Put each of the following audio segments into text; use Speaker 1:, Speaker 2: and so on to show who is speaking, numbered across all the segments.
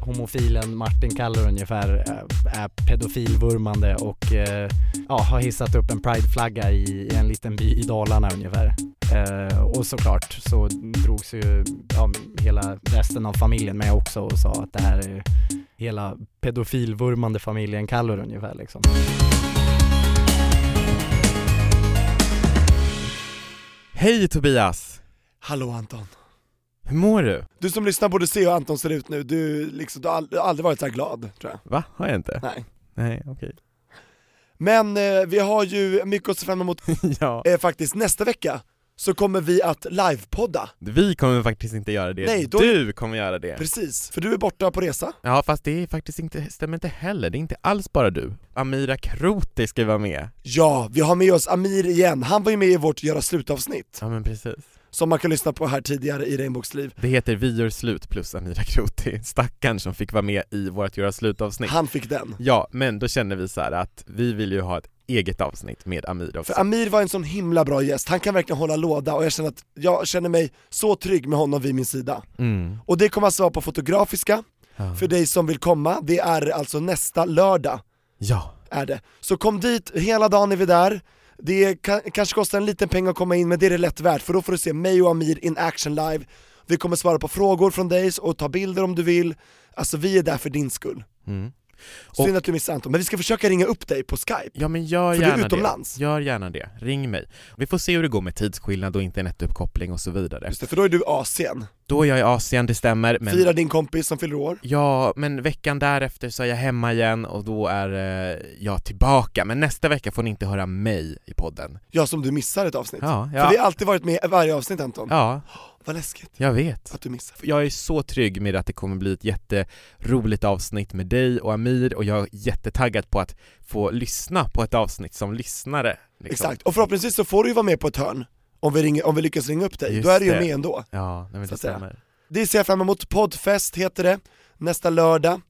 Speaker 1: homofilen Martin Kaller ungefär eh, är pedofilvurmande och eh, ja, har hissat upp en prideflagga i, i en liten by i Dalarna ungefär. Eh, och såklart så drogs ju ja, hela resten av familjen med också och sa att det här är ju hela pedofilvurmande familjen Kaller ungefär liksom.
Speaker 2: Hej Tobias!
Speaker 3: Hallå Anton.
Speaker 2: Hur mår du?
Speaker 4: Du som lyssnar borde se hur Anton ser ut nu, du, liksom, du har ald- aldrig varit så här glad tror jag.
Speaker 2: Va? Har jag inte?
Speaker 4: Nej.
Speaker 2: Nej, okej.
Speaker 4: Men eh, vi har ju mycket att se fram emot
Speaker 2: ja.
Speaker 4: eh, faktiskt, nästa vecka så kommer vi att livepodda,
Speaker 2: Vi kommer faktiskt inte göra det.
Speaker 4: Nej, då-
Speaker 2: Du kommer göra det.
Speaker 4: precis, för du är borta på resa.
Speaker 2: Ja, fast det är faktiskt inte, stämmer inte heller. Det är inte alls bara du. Amira Kroti ska vara med.
Speaker 4: Ja, vi har med oss Amir igen, han var ju med i vårt göra slut-avsnitt,
Speaker 2: Ja, men precis.
Speaker 4: som man kan lyssna på här tidigare i Regnbågsliv.
Speaker 2: Det heter Vi gör slut plus Amira Kroti. Stackaren som fick vara med i vårt Göra slut-avsnitt.
Speaker 4: Han fick den.
Speaker 2: Ja, men då känner vi så här att vi vill ju ha ett eget avsnitt med Amira också.
Speaker 4: För Amir var en sån himla bra gäst, han kan verkligen hålla låda och jag känner att jag känner mig så trygg med honom vid min sida.
Speaker 2: Mm.
Speaker 4: Och det kommer alltså vara på Fotografiska,
Speaker 2: Ja.
Speaker 4: för dig som vill komma, det är alltså nästa lördag.
Speaker 2: ja.
Speaker 4: är det. Så kom dit, hela dagen är vi där. Det är, ka- kanske kostar en liten peng att komma in men det är det lätt värt för då får du se mig och Amir in action live. Vi kommer svara på frågor från dig och ta bilder om du vill. Alltså vi är där för din skull.
Speaker 2: Mm.
Speaker 4: Synd att du missade Anton, men vi ska försöka ringa upp dig på skype.
Speaker 2: Ja men gör
Speaker 4: För du är
Speaker 2: gärna
Speaker 4: utomlands.
Speaker 2: det. Gör gärna det. Ring mig. Vi får se hur det går med tidsskillnad och internetuppkoppling och så vidare.
Speaker 4: Just det, för då är du i Asien.
Speaker 2: Då är jag i Asien, det stämmer, men
Speaker 4: Fira din kompis som fyller år.
Speaker 2: Ja, men veckan därefter så är jag hemma igen och då är eh, jag tillbaka. Men nästa vecka får ni inte höra mig i podden.
Speaker 4: Ja, som du missar ett avsnitt.
Speaker 2: Ja,
Speaker 4: För vi
Speaker 2: ja,
Speaker 4: har alltid varit med i varje avsnitt Anton.
Speaker 2: ja
Speaker 4: Vad läskigt
Speaker 2: jag vet.
Speaker 4: att du missar.
Speaker 2: Jag är så trygg med att det kommer bli ett jätteroligt avsnitt med dig och Amir och jag är jättetaggad på att få lyssna på ett avsnitt som lyssnare. liksom.
Speaker 4: Exakt, och förhoppningsvis så får du ju vara med på ett hörn. Om vi, ringer, om vi lyckas ringa upp dig,
Speaker 2: Just
Speaker 4: då är du ju
Speaker 2: det.
Speaker 4: med ändå.
Speaker 2: Ja, nej, men
Speaker 4: Så
Speaker 2: det
Speaker 4: att säga.
Speaker 2: stämmer.
Speaker 4: Det ser jag fram emot, poddfest heter det, nästa lördag,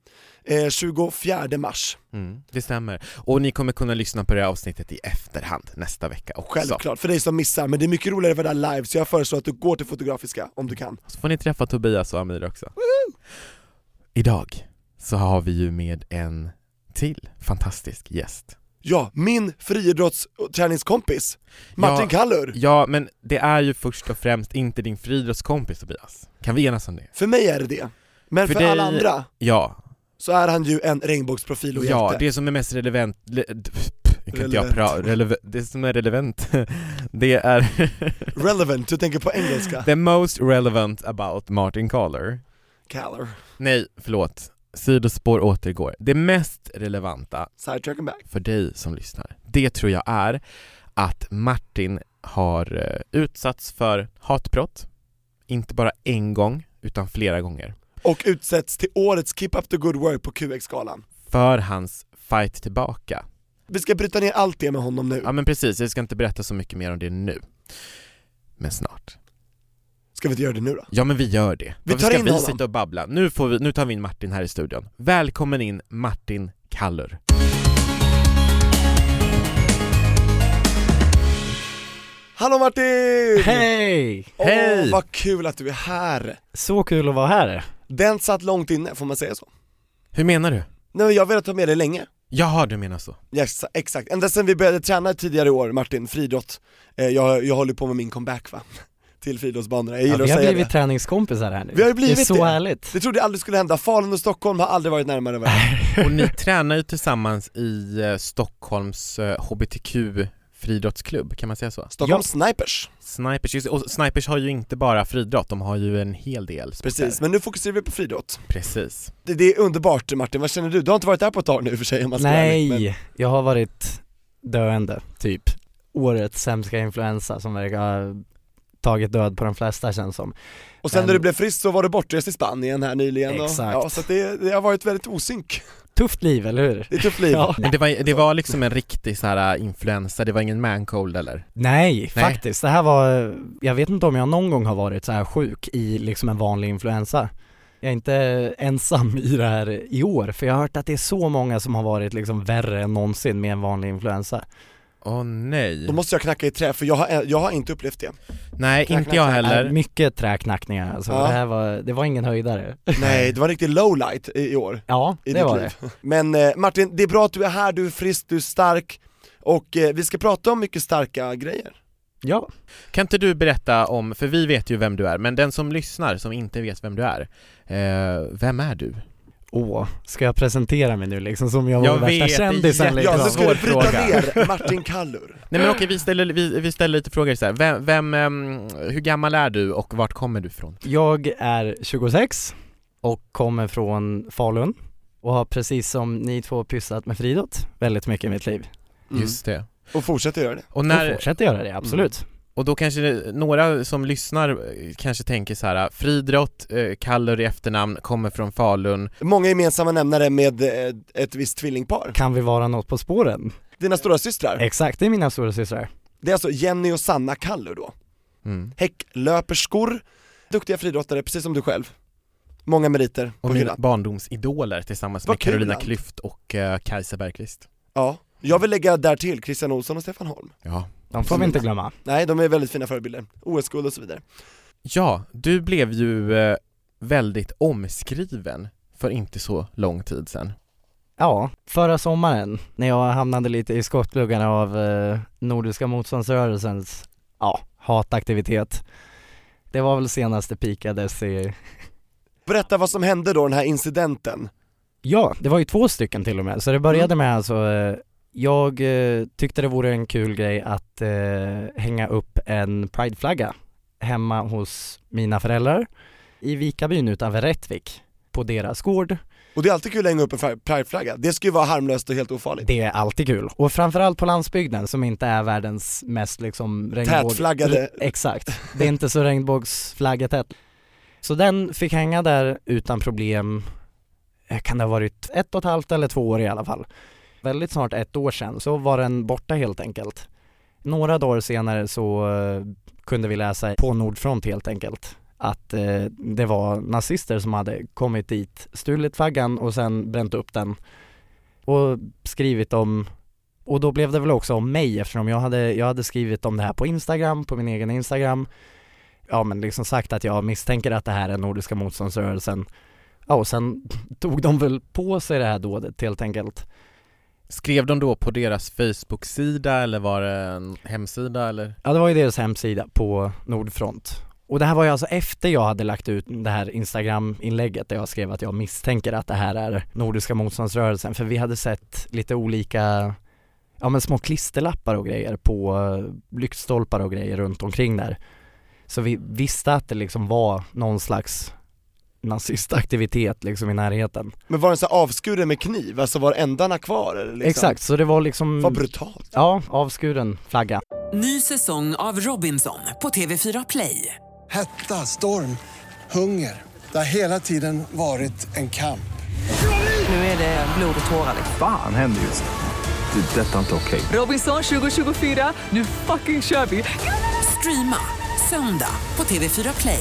Speaker 4: eh, 24 mars.
Speaker 2: Mm, det stämmer. Och ni kommer kunna lyssna på det här avsnittet i efterhand nästa vecka också.
Speaker 4: Självklart, för dig som missar, men det är mycket roligare att vara där live, så jag föreslår att du går till Fotografiska om du kan.
Speaker 2: Så får ni träffa Tobias och Amir också. Idag så har vi ju med en till fantastisk gäst.
Speaker 4: Ja, min friidrottsträningskompis, Martin
Speaker 2: ja,
Speaker 4: Kallur.
Speaker 2: ja, men det är ju först och främst inte din friidrottskompis Tobias. Kan vi enas om det?
Speaker 4: För mig är det det. Men
Speaker 2: För
Speaker 4: för,
Speaker 2: dig-
Speaker 4: alla andra
Speaker 2: Ja,
Speaker 4: så är han ju en regnbågsprofil och
Speaker 2: ja
Speaker 4: hjälte.
Speaker 2: det som är mest relevant... Le, d- pff, nu kan inte jag pra-
Speaker 4: Relevant.
Speaker 2: releva- det som är relevant, det är
Speaker 4: Relevant, du tänker på engelska.
Speaker 2: the most relevant about Martin Caller.
Speaker 4: Kallur.
Speaker 2: Nej, förlåt. Sidospår återgår. Det mest relevanta
Speaker 4: Sidetracken back.
Speaker 2: för dig som lyssnar, det tror jag är att Martin har eh, utsatts för hatbrott, inte bara en gång, utan flera gånger,
Speaker 4: Och utsätts till årets Keep Up The Good Work på QX-galan.
Speaker 2: för hans fight tillbaka.
Speaker 4: Vi ska bryta ner allt det med honom nu.
Speaker 2: Ja men precis, jag ska inte berätta så mycket mer om det nu. Men snart.
Speaker 4: Ska vi inte göra det nu då?
Speaker 2: Ja men vi gör det.
Speaker 4: Vi
Speaker 2: Varför
Speaker 4: tar
Speaker 2: ska
Speaker 4: in
Speaker 2: vi
Speaker 4: honom.
Speaker 2: sitta och babbla? Nu, får vi, nu tar vi in Martin här i studion. Välkommen in Martin Kallur.
Speaker 4: Hallå Martin!
Speaker 1: Hej!
Speaker 4: Åh,
Speaker 2: Hej!
Speaker 4: vad kul att du är här!
Speaker 1: Så kul att vara här.
Speaker 4: Den satt långt inne, får man säga så?
Speaker 2: Hur menar du?
Speaker 4: Nej men jag har velat ta med dig länge.
Speaker 2: Jaha, du menar så.
Speaker 4: Yes, exakt, ända sedan vi började träna tidigare i år Martin, friidrott. Eh, jag, jag håller på med min comeback va? Till friidrottsbanorna, jag
Speaker 1: Ja,
Speaker 4: gillar
Speaker 1: vi
Speaker 4: att
Speaker 1: har
Speaker 4: säga
Speaker 1: blivit
Speaker 4: det.
Speaker 1: träningskompisar här nu.
Speaker 4: Vi har ju blivit
Speaker 1: det. är så
Speaker 4: det.
Speaker 1: härligt.
Speaker 4: Det trodde jag aldrig skulle hända, Falun och Stockholm har aldrig varit närmare varandra.
Speaker 2: Och ni tränar ju tillsammans i eh, Stockholms eh, HBTQ friidrottsklubb, kan man säga så?
Speaker 4: Stockholm Snipers.
Speaker 2: Snipers, just, och Snipers har ju inte bara friidrott, de har ju en hel del sporter.
Speaker 4: Precis, men nu fokuserar vi på friidrott.
Speaker 2: Precis.
Speaker 4: Det, det är underbart Martin, vad känner du? Du har inte varit där på ett tag nu i och för sig om man ska vara ärlig, men-
Speaker 1: Nej, jag har varit döende, typ. Årets sämsta influensa som verkar ha tagit död på de flesta känns som.
Speaker 4: Och sen
Speaker 1: men-
Speaker 4: när du blev frisk så var du bortrest i Spanien här nyligen och,
Speaker 1: Exakt.
Speaker 4: Ja, så att det, det har varit väldigt osynk.
Speaker 1: Tufft liv, eller hur?
Speaker 4: Det är tufft liv.
Speaker 1: Ja.
Speaker 2: Men det var, det var liksom en riktig så här äh, influensa, det var ingen mancold eller?
Speaker 1: Nej,
Speaker 2: Nej.
Speaker 1: faktiskt. Det här var, jag vet inte om jag någon gång har varit så här sjuk i liksom en vanlig influensa. Jag är inte ensam i det här i år, för jag har hört att det är så många som har varit liksom värre än någonsin med en vanlig influensa.
Speaker 2: Åh nej.
Speaker 4: Då måste jag knacka i trä, för jag har, eh, jag har inte upplevt det.
Speaker 2: Nej,
Speaker 4: Knack,
Speaker 2: inte jag
Speaker 4: knack,
Speaker 1: Eller?
Speaker 2: heller.
Speaker 1: Äh, Mycket träknackningar alltså.
Speaker 4: Ja.
Speaker 1: Det här var, det var ingen höjdare.
Speaker 4: Nej, det var en riktig lowlight i, i år.
Speaker 1: Ja,
Speaker 4: I
Speaker 1: det
Speaker 4: ditt
Speaker 1: var
Speaker 4: liv.
Speaker 1: det.
Speaker 4: Men eh, Martin, det är bra att du är här, du är frisk, du är stark. Och eh, vi ska prata om mycket starka grejer.
Speaker 1: Ja.
Speaker 2: Kan inte du berätta om, för vi vet ju vem du är, men den som lyssnar som inte vet vem du är, eh, vem är du?
Speaker 1: Åh, ska jag presentera mig nu liksom som jag var
Speaker 2: Jag
Speaker 1: värsta
Speaker 2: vet, det är
Speaker 1: kändisen
Speaker 2: jätte-
Speaker 1: liksom?
Speaker 4: Ja, så
Speaker 2: var en
Speaker 4: ska
Speaker 2: svår
Speaker 4: du bryta
Speaker 2: fråga.
Speaker 4: ner Martin Kallur.
Speaker 2: Nej men okej, vi ställer, vi, vi ställer lite frågor så här. Vem, vem, ehm, hur gammal är du och vart kommer du ifrån?
Speaker 1: Jag är 26 och kommer från Falun och har precis som ni två pysslat med friidrott väldigt mycket i mitt liv.
Speaker 4: Mm.
Speaker 2: Just det.
Speaker 4: Och fortsätter göra det.
Speaker 2: Och,
Speaker 1: Och
Speaker 2: när, Mm.
Speaker 1: fortsätter göra det, absolut.
Speaker 2: och då kanske det- några som lyssnar eh, kanske tänker så här, Fridrott, eh, Kallur i efternamn, kommer från Falun.
Speaker 4: Många gemensamma nämnare med eh, ett visst tvillingpar.
Speaker 1: Kan vi vara något på spåren?
Speaker 4: Dina stora systrar.
Speaker 1: Exakt, det är mina stora systrar.
Speaker 4: Det är alltså Jenny och Sanna Kallur då.
Speaker 2: Mm.
Speaker 4: Häcklöperskor, duktiga friidrottare precis som du själv. Många meriter på
Speaker 2: Och mina
Speaker 4: hyllan.
Speaker 2: barndomsidoler tillsammans
Speaker 4: Vad
Speaker 2: med Carolina
Speaker 4: kul.
Speaker 2: Klüft och eh, Kajsa Bergqvist.
Speaker 4: Ja. Jag vill lägga där till Christian Olsson och Stefan Holm.
Speaker 2: Ja.
Speaker 1: De får vi inte glömma.
Speaker 4: Nej, de är väldigt fina förebilder. OS-guld och så vidare.
Speaker 2: Ja, du blev ju eh, väldigt omskriven för inte så lång tid sedan.
Speaker 1: Ja, förra sommaren när jag hamnade lite i skottgluggarna av eh, Nordiska motståndsrörelsens ja, hataktivitet. Det var väl senast det pikades i
Speaker 4: Berätta vad som hände då, den här incidenten.
Speaker 1: Ja, det var ju två stycken till och med. Så det började med alltså, eh, jag eh, tyckte det vore en kul grej att eh, hänga upp en prideflagga hemma hos mina föräldrar i Vikabyn utanför Rättvik på deras gård.
Speaker 4: Och det är alltid kul att hänga upp en färg- prideflagga, det ska ju vara harmlöst och helt ofarligt.
Speaker 1: Det är alltid kul. Och framförallt på landsbygden som inte är världens mest liksom regnbåg...
Speaker 4: Tätflaggade.
Speaker 2: Mm.
Speaker 1: Re- Exakt. Det är inte så regnbågsflaggetätt. Så den fick hänga där utan problem, eh, kan det ha varit ett och ett halvt eller två år i alla fall. Väldigt snart ett år sedan så var den borta helt enkelt. Några dagar senare så eh, kunde vi läsa på Nordfront helt enkelt att eh, det var nazister som hade kommit dit, stulit flaggan och sen bränt upp den och skrivit om och då blev det väl också om mig eftersom jag hade, jag hade skrivit om det här på Instagram, på min egen Instagram Ja men liksom sagt att jag misstänker att det här är Nordiska motståndsrörelsen Ja och sen tog de väl på sig det här dådet helt enkelt
Speaker 2: Skrev de då på deras Facebook-sida eller var det en hemsida eller?
Speaker 1: Ja det var ju deras hemsida på Nordfront Och det här var ju alltså efter jag hade lagt ut det här Instagram-inlägget där jag skrev att jag misstänker att det här är Nordiska motståndsrörelsen för vi hade sett lite olika Ja men små klisterlappar och grejer på eh, lyktstolpar och grejer runt omkring där Så vi visste att det liksom var någon slags nazistaktivitet liksom i närheten
Speaker 4: Men var den så här avskuren med kniv, alltså var ändarna kvar? Eller liksom?
Speaker 1: Exakt, så det var liksom
Speaker 4: Vad brutalt.
Speaker 1: Ja, avskuren flagga
Speaker 5: Ny säsong av Robinson på TV4 Play.
Speaker 3: Hetta, storm, hunger. Det har hela tiden varit en kamp.
Speaker 5: Nu är det blod och tårar.
Speaker 6: Fan händer just det. Det är detta inte okej.
Speaker 5: Robinson 2024, nu fucking kör vi! Streama söndag på TV4 Play.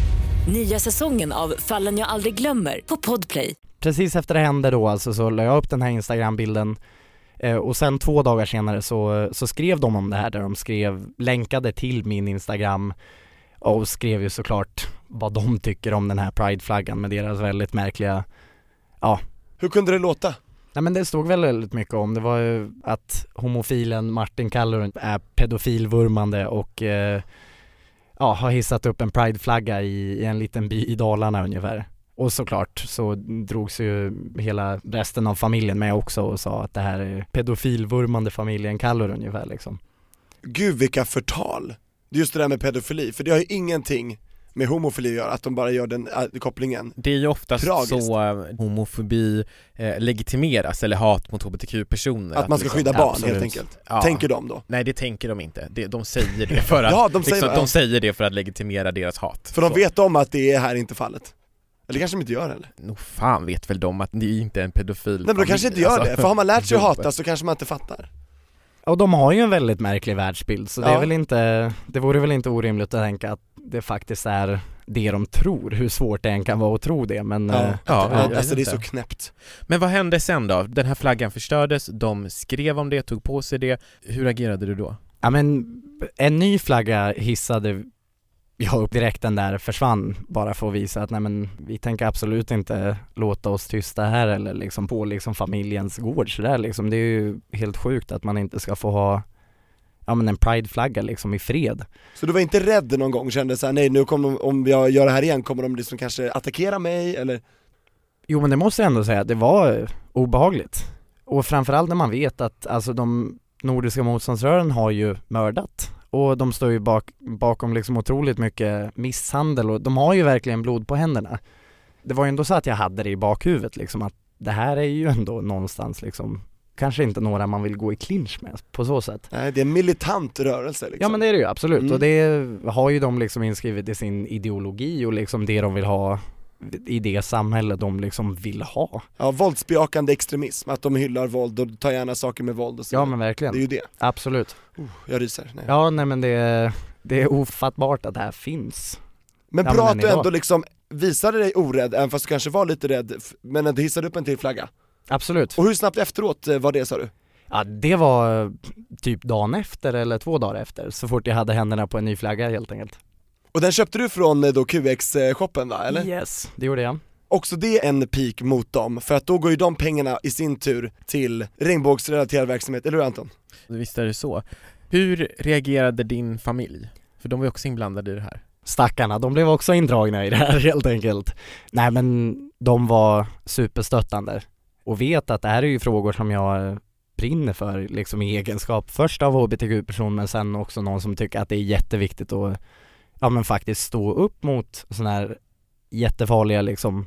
Speaker 7: Nya säsongen av Fallen jag aldrig glömmer på Podplay.
Speaker 1: precis efter det hände då alltså så la jag upp den här Instagram-bilden eh, och sen två dagar senare så, så skrev de om det här där de skrev, länkade till min Instagram och skrev ju såklart vad de tycker om den här prideflaggan med deras väldigt märkliga, ja,
Speaker 4: Hur kunde det låta?
Speaker 1: nej men det stod väl väldigt mycket om, det var ju att homofilen Martin Kallur är pedofilvurmande och eh, ja, har hissat upp en prideflagga i, i en liten by i Dalarna ungefär. Och såklart så drogs ju hela resten av familjen med också och sa att det här är pedofilvurmande familjen Kallur ungefär liksom.
Speaker 4: Gud vilka förtal! Det är Just det där med pedofili, för det har ju ingenting med homofili att göra, att de bara gör den äh, kopplingen.
Speaker 2: Det är ju oftast
Speaker 4: Tragiskt.
Speaker 2: så eh, homofobi eh, legitimeras, eller hat mot hbtq-personer
Speaker 4: Att man ska
Speaker 2: liksom-
Speaker 4: skydda barn
Speaker 2: Absolut.
Speaker 4: helt enkelt.
Speaker 2: Ja.
Speaker 4: Tänker de då?
Speaker 2: Nej det tänker de inte, de, de säger det för att,
Speaker 4: Ja, de säger
Speaker 2: liksom,
Speaker 4: det.
Speaker 2: de säger det för att legitimera deras hat
Speaker 4: För de
Speaker 2: Så.
Speaker 4: vet om att det är här inte fallet. Eller kanske de inte gör heller.
Speaker 2: Nog fan vet väl de att ni inte är en pedofil alltså.
Speaker 4: Nej men de kanske inte gör
Speaker 1: alltså,
Speaker 4: det, för har man lärt sig att hata så kanske man inte fattar.
Speaker 1: Och de har ju en väldigt märklig världsbild så det
Speaker 4: Ja.
Speaker 1: är väl inte, det vore väl inte orimligt att tänka att det faktiskt är det de tror, hur svårt det än kan vara att tro det men
Speaker 4: Ja.
Speaker 1: eh,
Speaker 2: Ja,
Speaker 1: Ja,
Speaker 2: jag
Speaker 4: alltså det är
Speaker 2: vet
Speaker 4: så
Speaker 2: inte.
Speaker 4: knäppt.
Speaker 2: Men vad hände sen då? Den här flaggan förstördes, de skrev om det, tog på sig det. Hur agerade du då?
Speaker 1: Ja men en ny flagga hissade jag upp direkt, den där försvann bara för att visa att nej men vi tänker absolut inte låta oss tysta här eller liksom på liksom familjens gård sådär liksom. Det är ju helt sjukt att man inte ska få ha ja men en prideflagga liksom i fred.
Speaker 4: Så du var inte rädd någon gång, kände såhär nej nu kommer de, om jag gör det här igen kommer de liksom kanske attackera mig eller?
Speaker 1: Jo men det måste jag ändå säga, det var eh, obehagligt. Och framförallt när man vet att alltså de nordiska motståndsrörelsen har ju mördat och de står ju bak, bakom liksom otroligt mycket misshandel och de har ju verkligen blod på händerna. Det var ju ändå så att jag hade det i bakhuvudet liksom att det här är ju ändå någonstans liksom kanske inte några man vill gå i clinch med på så sätt.
Speaker 4: Nej det är en militant rörelse liksom.
Speaker 1: Ja men det är det ju absolut
Speaker 4: Mm.
Speaker 1: och det har ju de liksom inskrivet i sin ideologi och liksom det de vill ha i det samhälle de liksom vill ha.
Speaker 4: Ja, våldsbejakande extremism, att de hyllar våld och tar gärna saker med våld och så
Speaker 1: Ja
Speaker 4: vidare.
Speaker 1: men
Speaker 4: Det är
Speaker 1: verkligen,
Speaker 4: ju det,
Speaker 1: absolut.
Speaker 4: jag ryser. Nej.
Speaker 1: Ja nej men det, det är ofattbart att det här finns.
Speaker 4: Men
Speaker 1: Ja,
Speaker 4: bra
Speaker 1: men
Speaker 4: att du
Speaker 1: idag.
Speaker 4: ändå liksom visade dig orädd, även fast du kanske var lite rädd, f- men att du hissade upp en till flagga.
Speaker 1: Absolut.
Speaker 4: Och hur snabbt efteråt eh, var det sa du?
Speaker 1: Ja det var eh, typ dagen efter eller två dagar efter, så fort jag hade händerna på en ny flagga helt enkelt.
Speaker 4: Och den köpte du från eh, då QX-shoppen va, eller?
Speaker 1: Yes, det gjorde jag.
Speaker 4: Också det är en peak mot dem, för att då går ju de pengarna i sin tur till regnbågsrelaterad verksamhet, eller hur Anton?
Speaker 2: Visst är det så. Hur reagerade din familj? För de var ju också inblandade i det här.
Speaker 1: Stackarna, de blev också indragna i det här helt enkelt. Nej men de var superstöttande och vet att det här är ju frågor som jag brinner för liksom i egenskap först av hbtq-person men sen också någon som tycker att det är jätteviktigt att ja men faktiskt stå upp mot sådana här jättefarliga liksom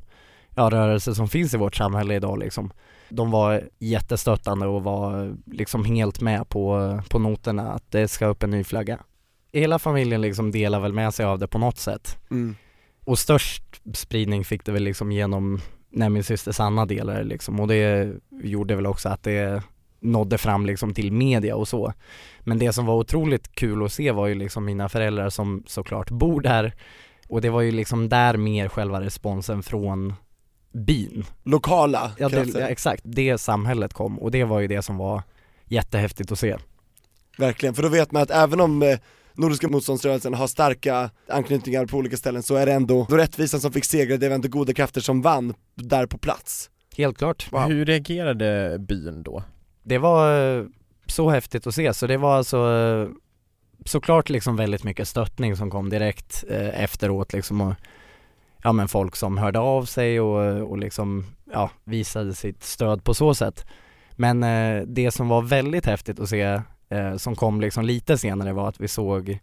Speaker 1: ja, rörelser som finns i vårt samhälle idag liksom. De var jättestöttande och var liksom helt med på, på noterna att det ska upp en ny flagga. Hela familjen liksom delar väl med sig av det på något sätt och störst spridning fick det väl liksom genom när min syster Sanna delade det liksom och det gjorde väl också att det nådde fram liksom till media och så. Men det som var otroligt kul att se var ju liksom mina föräldrar som såklart bor där och det var ju liksom där mer själva responsen från byn.
Speaker 4: Lokala
Speaker 1: Ja, det,
Speaker 4: krafter,
Speaker 1: ja exakt, det samhället kom och det var ju det som var jättehäftigt att se.
Speaker 4: verkligen. För då vet man att även om eh, Nordiska motståndsrörelsen har starka anknytningar på olika ställen så är det ändå då rättvisan som fick segra, det var inte goda krafter som vann där på plats.
Speaker 1: Helt klart.
Speaker 2: Hur reagerade byn då?
Speaker 1: Det var eh, så häftigt att se, så det var alltså eh, såklart liksom väldigt mycket stöttning som kom direkt eh, efteråt liksom och ja men folk som hörde av sig och, och liksom ja, visade sitt stöd på så sätt. Men eh, det som var väldigt häftigt att se eh, som kom liksom lite senare var att vi såg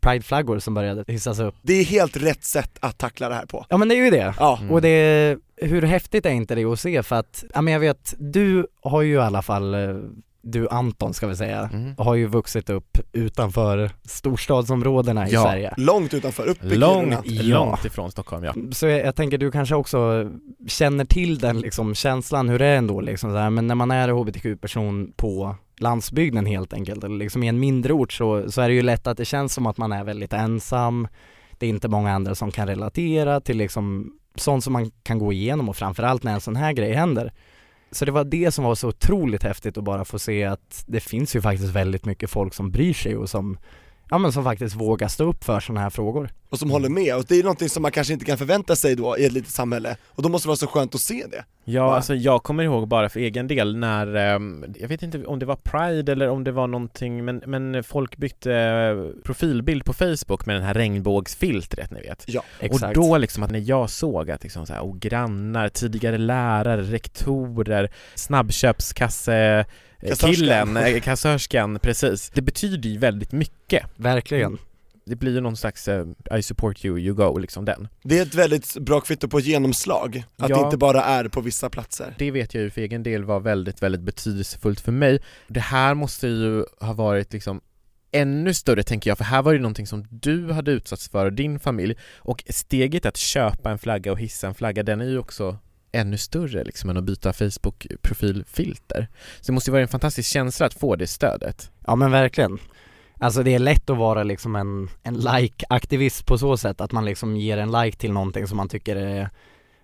Speaker 1: prideflaggor som började hissas upp.
Speaker 4: Det är helt rätt sätt att tackla det här på.
Speaker 1: Ja men det är ju det.
Speaker 4: Ja,
Speaker 2: Mm.
Speaker 1: Och det, hur häftigt är inte det att se för att, ja men jag vet, du har ju i alla fall, eh, du Anton ska vi säga,
Speaker 2: Mm.
Speaker 1: har ju vuxit upp utanför storstadsområdena i
Speaker 2: Ja.
Speaker 1: Sverige.
Speaker 4: långt utanför, upp i Kiruna.
Speaker 2: Långt,
Speaker 1: Ja.
Speaker 2: långt ifrån Stockholm ja.
Speaker 1: Så jag, jag tänker du kanske också känner till den liksom känslan hur det är ändå liksom så här. men när man är hbtq-person på landsbygden helt enkelt eller liksom i en mindre ort så, så är det ju lätt att det känns som att man är väldigt ensam, det är inte många andra som kan relatera till liksom sånt som man kan gå igenom och framförallt när en sån här grej händer. Så det var det som var så otroligt häftigt att bara få se att det finns ju faktiskt väldigt mycket folk som bryr sig och som ja men som faktiskt vågar stå upp för sådana här frågor.
Speaker 4: och som håller med och det är någonting som man kanske inte kan förvänta sig då i ett litet samhälle och då måste det vara så skönt att se det.
Speaker 2: Ja,
Speaker 4: Va?
Speaker 2: alltså jag kommer ihåg bara för egen del när, ehm, jag vet inte om det var Pride eller om det var någonting, men, men folk bytte eh, profilbild på Facebook med den här regnbågsfiltret ni vet.
Speaker 4: Ja.
Speaker 1: Exakt.
Speaker 2: Och då liksom att när jag såg att liksom så här, och grannar, tidigare lärare, rektorer, snabbköpskasse eh,
Speaker 4: Kassörskan.
Speaker 2: killen, eh, kassörskan, precis. Det betyder ju väldigt mycket.
Speaker 4: Mm.
Speaker 1: Verkligen.
Speaker 2: Mm. Det blir ju någon slags eh, I support you, you go, liksom den.
Speaker 4: Det är ett väldigt bra kvitto på genomslag, att
Speaker 2: Ja.
Speaker 4: det inte bara är på vissa platser.
Speaker 2: Det vet jag ju för egen del var väldigt, väldigt betydelsefullt för mig. Det här måste ju ha varit liksom ännu större tänker jag, för här var det ju någonting som du hade utsatts för och din familj. Och steget att köpa en flagga och hissa en flagga, den är ju också ännu större liksom än att byta Facebook-profilfilter. Så det måste ju vara en fantastisk känsla att få det stödet.
Speaker 1: Ja men verkligen. Alltså det är lätt att vara liksom en, en like-aktivist på så sätt, att man liksom ger en like till någonting som man tycker är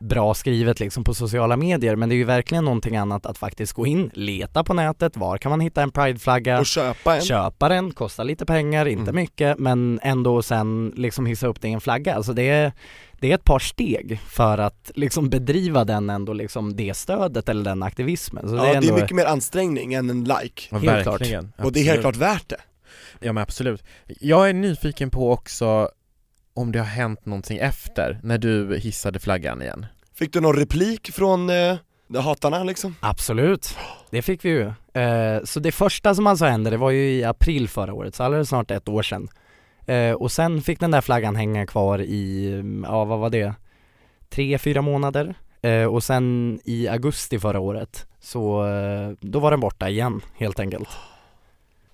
Speaker 1: bra skrivet liksom på sociala medier, men det är ju verkligen någonting annat att faktiskt gå in, leta på nätet, var kan man hitta en prideflagga?
Speaker 4: Och Mm. köpa en,
Speaker 1: Köpa den, kostar lite pengar, inte mycket, men ändå sen liksom hissa upp det i en flagga. Alltså det är, det är ett par steg för att liksom bedriva den ändå liksom det stödet eller den aktivismen. Så
Speaker 4: ja
Speaker 1: det är
Speaker 4: det
Speaker 1: ändå,
Speaker 4: är mycket mer ansträngning än en like.
Speaker 2: Ja,
Speaker 1: Helt klart.
Speaker 4: Och det är helt
Speaker 2: Absolut.
Speaker 4: klart värt det.
Speaker 2: Ja men absolut. Jag är nyfiken på också om det har hänt någonting efter, när du hissade flaggan igen.
Speaker 4: Fick du någon replik från eh, hatarna liksom?
Speaker 1: Absolut, det fick vi ju. Eh, så det första som alltså hände, det var ju i april förra året, så alldeles snart ett år sedan. Eh, och sen fick den där flaggan hänga kvar i, mm, ja vad var det, tre, fyra månader. Eh, och sen i augusti förra året, så eh, då var den borta igen helt enkelt.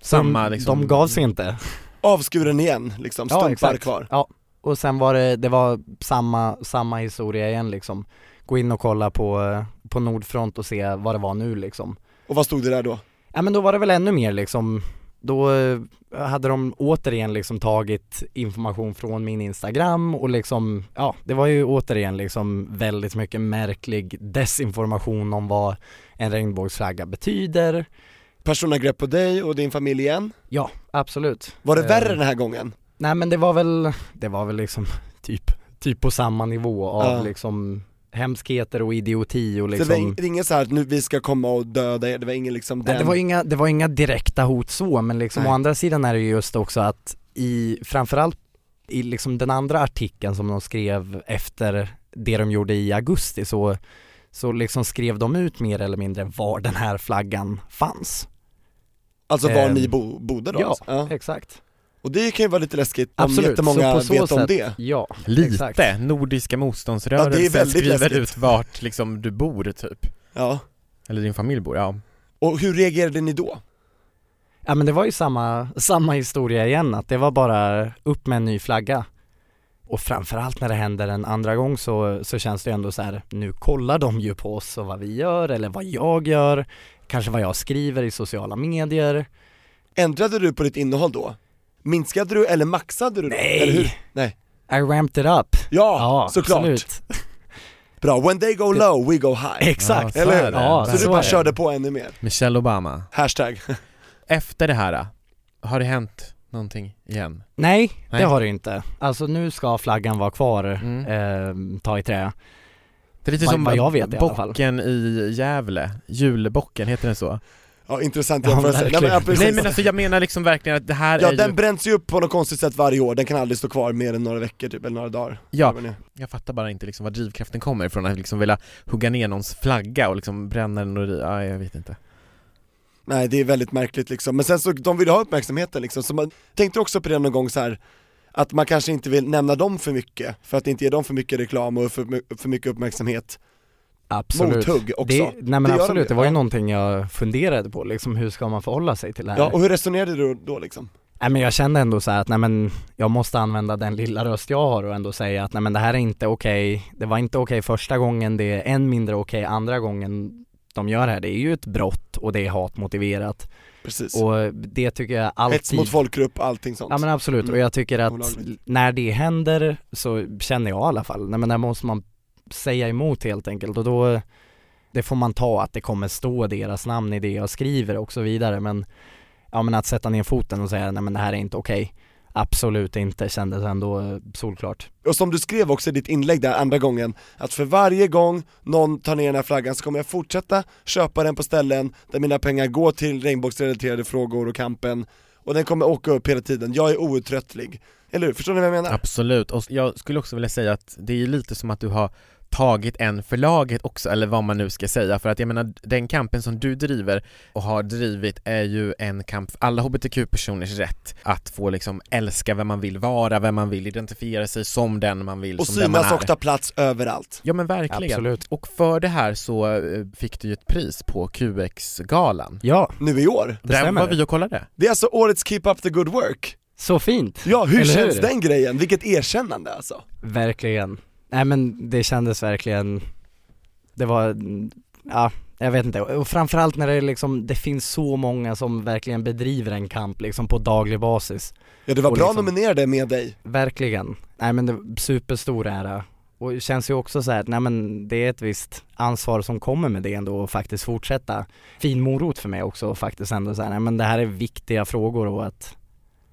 Speaker 2: Samma,
Speaker 1: de,
Speaker 2: liksom-
Speaker 1: de gav sig inte.
Speaker 4: Avskuren igen liksom, stumpar
Speaker 1: exakt.
Speaker 4: kvar.
Speaker 1: Ja, och sen var det, det var samma, samma historia igen liksom. Gå in och kolla på, eh, på Nordfront och se vad det var nu liksom.
Speaker 4: Och vad stod det där då?
Speaker 1: Ja men då var det väl ännu mer liksom då eh, hade de återigen liksom tagit information från min Instagram och liksom, ja det var ju återigen liksom väldigt mycket märklig desinformation om vad en regnbågsflagga betyder.
Speaker 4: Personangrepp på dig och din familj igen.
Speaker 1: Ja, absolut.
Speaker 4: Var det
Speaker 1: Eh,
Speaker 4: värre den här gången?
Speaker 1: Nej men det var väl, det var väl liksom typ, typ på samma nivå av
Speaker 4: Ja.
Speaker 1: liksom hemskheter och idioti och
Speaker 4: Så
Speaker 1: liksom
Speaker 4: det var ing- det är inget så här att nu vi ska komma och döda er, det var ingen liksom den...
Speaker 1: Nej, det, var inga, det var inga direkta hot så, men liksom
Speaker 4: Nej.
Speaker 1: å andra sidan är det ju just också att i, framförallt i liksom den andra artikeln som de skrev efter det de gjorde i augusti så, så liksom skrev de ut mer eller mindre var den här flaggan fanns.
Speaker 4: Alltså var
Speaker 1: Ehm,
Speaker 4: ni bo, bodde då?
Speaker 1: ja,
Speaker 4: alltså. ja.
Speaker 1: exakt.
Speaker 4: Och det kan ju vara lite läskigt om
Speaker 1: Absolut.
Speaker 4: jättemånga
Speaker 1: så på så
Speaker 4: vet
Speaker 1: sätt,
Speaker 4: om det.
Speaker 1: Ja,
Speaker 2: Lite,
Speaker 1: exakt.
Speaker 2: Nordiska
Speaker 4: Ja, det är
Speaker 2: motståndsrörelsen
Speaker 4: väldigt
Speaker 2: skriver
Speaker 4: läskigt.
Speaker 2: ut vart liksom du bor typ,
Speaker 4: Ja.
Speaker 2: eller din familj bor, ja.
Speaker 4: Och hur reagerade ni då?
Speaker 1: Ja men det var ju samma, samma historia igen, att det var bara upp med en ny flagga. Och framförallt när det händer en andra gång så, så känns det ju ändå så här, nu kollar de ju på oss och vad vi gör eller vad jag gör, kanske vad jag skriver i sociala medier.
Speaker 4: Ändrade du på ditt innehåll då? Minskade du eller maxade du då?
Speaker 1: Nej.
Speaker 4: Eller hur? Nej.
Speaker 1: I ramped it up.
Speaker 4: Ja, såklart.
Speaker 1: absolut.
Speaker 4: Bra, when they go low, we go high.
Speaker 1: Exakt.
Speaker 2: Ja, så
Speaker 4: eller
Speaker 2: är
Speaker 4: hur?
Speaker 2: det.
Speaker 1: Ja,
Speaker 4: Så
Speaker 2: Verkligen.
Speaker 4: du bara
Speaker 1: är det.
Speaker 4: körde på ännu mer.
Speaker 2: Michelle Obama.
Speaker 4: Hashtag.
Speaker 2: Efter det här, har det hänt någonting igen?
Speaker 1: Nej,
Speaker 2: Nej.
Speaker 1: det har det ju inte. Alltså nu ska flaggan vara kvar,
Speaker 2: Mm.
Speaker 1: eh, ta i trä.
Speaker 2: Det är lite
Speaker 1: Vad-
Speaker 2: som
Speaker 1: vad jag vet i alla fall.
Speaker 2: bocken i Gävle, julbocken, heter den så?
Speaker 4: Ja, intressant
Speaker 1: Ja,
Speaker 4: jämförelse. Nej, men, ja,
Speaker 1: verkligen.
Speaker 4: precis.
Speaker 2: Nej men alltså jag menar liksom verkligen att det här
Speaker 4: Ja
Speaker 2: är
Speaker 4: den
Speaker 2: ju...
Speaker 4: bränns ju upp på något konstigt sätt varje år, den kan aldrig stå kvar mer än några veckor typ, eller några dagar
Speaker 2: Ja, jag fattar bara inte liksom var drivkraften kommer ifrån, att liksom vilja hugga ner någons flagga och liksom bränna den och ri- ja, jag vet inte.
Speaker 4: Nej det är väldigt märkligt liksom, men sen så, de vill ha uppmärksamheten liksom, så man tänkte också på det någon gång så här att man kanske inte vill nämna dem för mycket, för att inte ge dem för mycket reklam och för, my- för mycket uppmärksamhet
Speaker 1: Absolut.
Speaker 4: Mothugg också.
Speaker 1: Det, nej men
Speaker 4: Det gör de ju.
Speaker 1: absolut, det var ju
Speaker 4: Ja.
Speaker 1: någonting jag funderade på liksom, hur ska man förhålla sig till det här?
Speaker 4: Ja, och hur resonerade du då liksom?
Speaker 1: Nej men jag kände ändå så här att nej men jag måste använda den lilla röst jag har och ändå säga att nej men det här är inte okej, det var inte okej första gången, det är än mindre okej andra gången de gör det här. Det är ju ett brott och det är hatmotiverat
Speaker 4: Precis,
Speaker 1: och det tycker jag
Speaker 4: hets
Speaker 1: alltid
Speaker 4: mot folkgrupp, allting sånt
Speaker 1: Ja men absolut,
Speaker 4: Mm.
Speaker 1: och jag tycker att
Speaker 4: Olagligt.
Speaker 1: när det händer så känner jag i alla fall, nej men där måste man säga emot helt enkelt och då det får man ta att det kommer stå deras namn i det jag skriver och så vidare men ja men att sätta ner foten och säga nej men det här är inte okej Absolut inte, kändes ändå solklart.
Speaker 4: Och som du skrev också i ditt inlägg där andra gången, att för varje gång någon tar ner den här flaggan så kommer jag fortsätta köpa den på ställen där mina pengar går till regnbågsrelaterade frågor och kampen och den kommer åka upp hela tiden, jag är outtröttlig. Eller hur? Förstår ni vad jag menar?
Speaker 2: Absolut, och jag skulle också vilja säga att det är ju lite som att du har tagit en förlaget också, eller vad man nu ska säga, för att jag menar den kampen som du driver och har drivit är ju en kamp för alla hbtq-personers rätt att få liksom älska vem man vill vara, vem man vill, identifiera sig som den man vill,
Speaker 4: och
Speaker 2: som den man
Speaker 4: synas
Speaker 2: är.
Speaker 4: och ta plats överallt.
Speaker 2: Ja men verkligen.
Speaker 1: Absolut.
Speaker 2: Och för det här så eh, fick du ju ett pris på QX-galan.
Speaker 1: Ja,
Speaker 4: Nu i år.
Speaker 1: det
Speaker 2: Där var
Speaker 1: stämmer.
Speaker 2: vi och kollade.
Speaker 4: Det är alltså årets Keep Up The Good Work.
Speaker 1: Så fint!
Speaker 4: Ja, hur
Speaker 1: Eller
Speaker 4: känns
Speaker 1: hur?
Speaker 4: den grejen? Vilket erkännande alltså.
Speaker 1: Verkligen. Nej men det kändes verkligen, det var, ja jag vet inte, och framförallt när det är liksom, det finns så många som verkligen bedriver en kamp liksom på daglig basis.
Speaker 4: Ja, det var
Speaker 1: Och
Speaker 4: bra
Speaker 1: liksom-
Speaker 4: nominerade med dig.
Speaker 1: Verkligen. Nej men det, superstor ära. Och det känns ju också så här, att, nej men det är ett visst ansvar som kommer med det ändå och faktiskt fortsätta. Fin morot för mig också och faktiskt ändå så här, nej men det här är viktiga frågor och att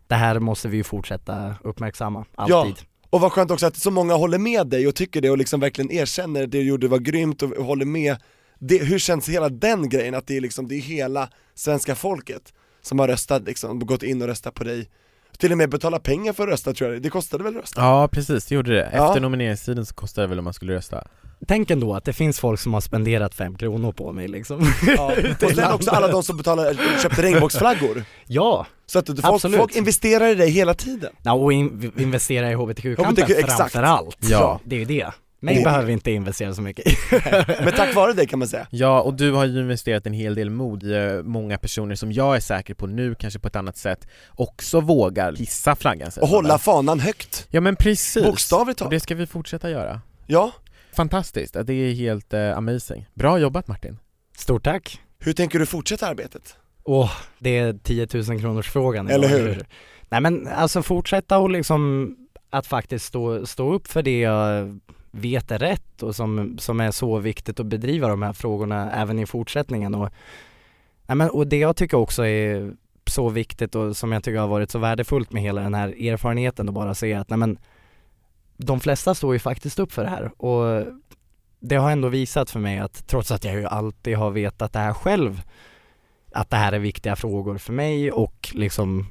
Speaker 1: det här måste vi ju fortsätta uppmärksamma, alltid.
Speaker 4: Och vad skönt också att så många håller med dig och tycker det och liksom verkligen erkänner det du gjorde var grymt och håller med. Det, hur känns hela den grejen? Att det är liksom, det är hela svenska folket som har röstat liksom, gått in och röstat på dig. Till och med betala pengar för att rösta tror jag, det kostade väl att rösta?
Speaker 2: Ja precis, det gjorde det. Efter
Speaker 4: Ja.
Speaker 2: nomineringstiden så kostade det väl om man skulle rösta.
Speaker 1: Tänk ändå att det finns folk som har spenderat fem kronor på mig liksom.
Speaker 4: Och sen också alla de som betalade, köpte regnbågsflaggor.
Speaker 1: ja!
Speaker 4: Så att du- folk,
Speaker 1: Absolut.
Speaker 4: folk investerar i dig hela tiden.
Speaker 1: ja och in, investera i HBTQ-kampen
Speaker 4: HBTQ, exakt.
Speaker 1: framförallt.
Speaker 2: Ja.
Speaker 1: Det är ju det. Mig
Speaker 4: Det-
Speaker 1: behöver vi inte investera så mycket i.
Speaker 4: Men tack vare dig kan man säga.
Speaker 2: Ja, och du har ju investerat en hel del mod i eh, många personer som jag är säker på nu, kanske på ett annat sätt, också vågar hissa flaggan säger
Speaker 4: Och
Speaker 2: man
Speaker 4: hålla
Speaker 2: väl.
Speaker 4: fanan högt.
Speaker 2: Ja men precis!
Speaker 4: Bokstavligt
Speaker 2: Och
Speaker 4: talat.
Speaker 2: det ska vi fortsätta göra.
Speaker 4: Ja.
Speaker 2: Fantastiskt, det är helt eh, amazing. Bra jobbat Martin!
Speaker 1: Stort tack.
Speaker 4: Hur tänker du fortsätta arbetet?
Speaker 1: Åh, det är 10 000 kronors frågan
Speaker 4: Eller hur?
Speaker 1: Nej men alltså fortsätta och liksom att faktiskt stå, stå upp för det jag vet är rätt och som, som är så viktigt att bedriva de här frågorna även i fortsättningen och, nej men, och det jag tycker också är så viktigt och som jag tycker har varit så värdefullt med hela den här erfarenheten och bara se att nej men de flesta står ju faktiskt upp för det här och det har ändå visat för mig att trots att jag ju alltid har vetat det här själv att det här är viktiga frågor för mig och liksom,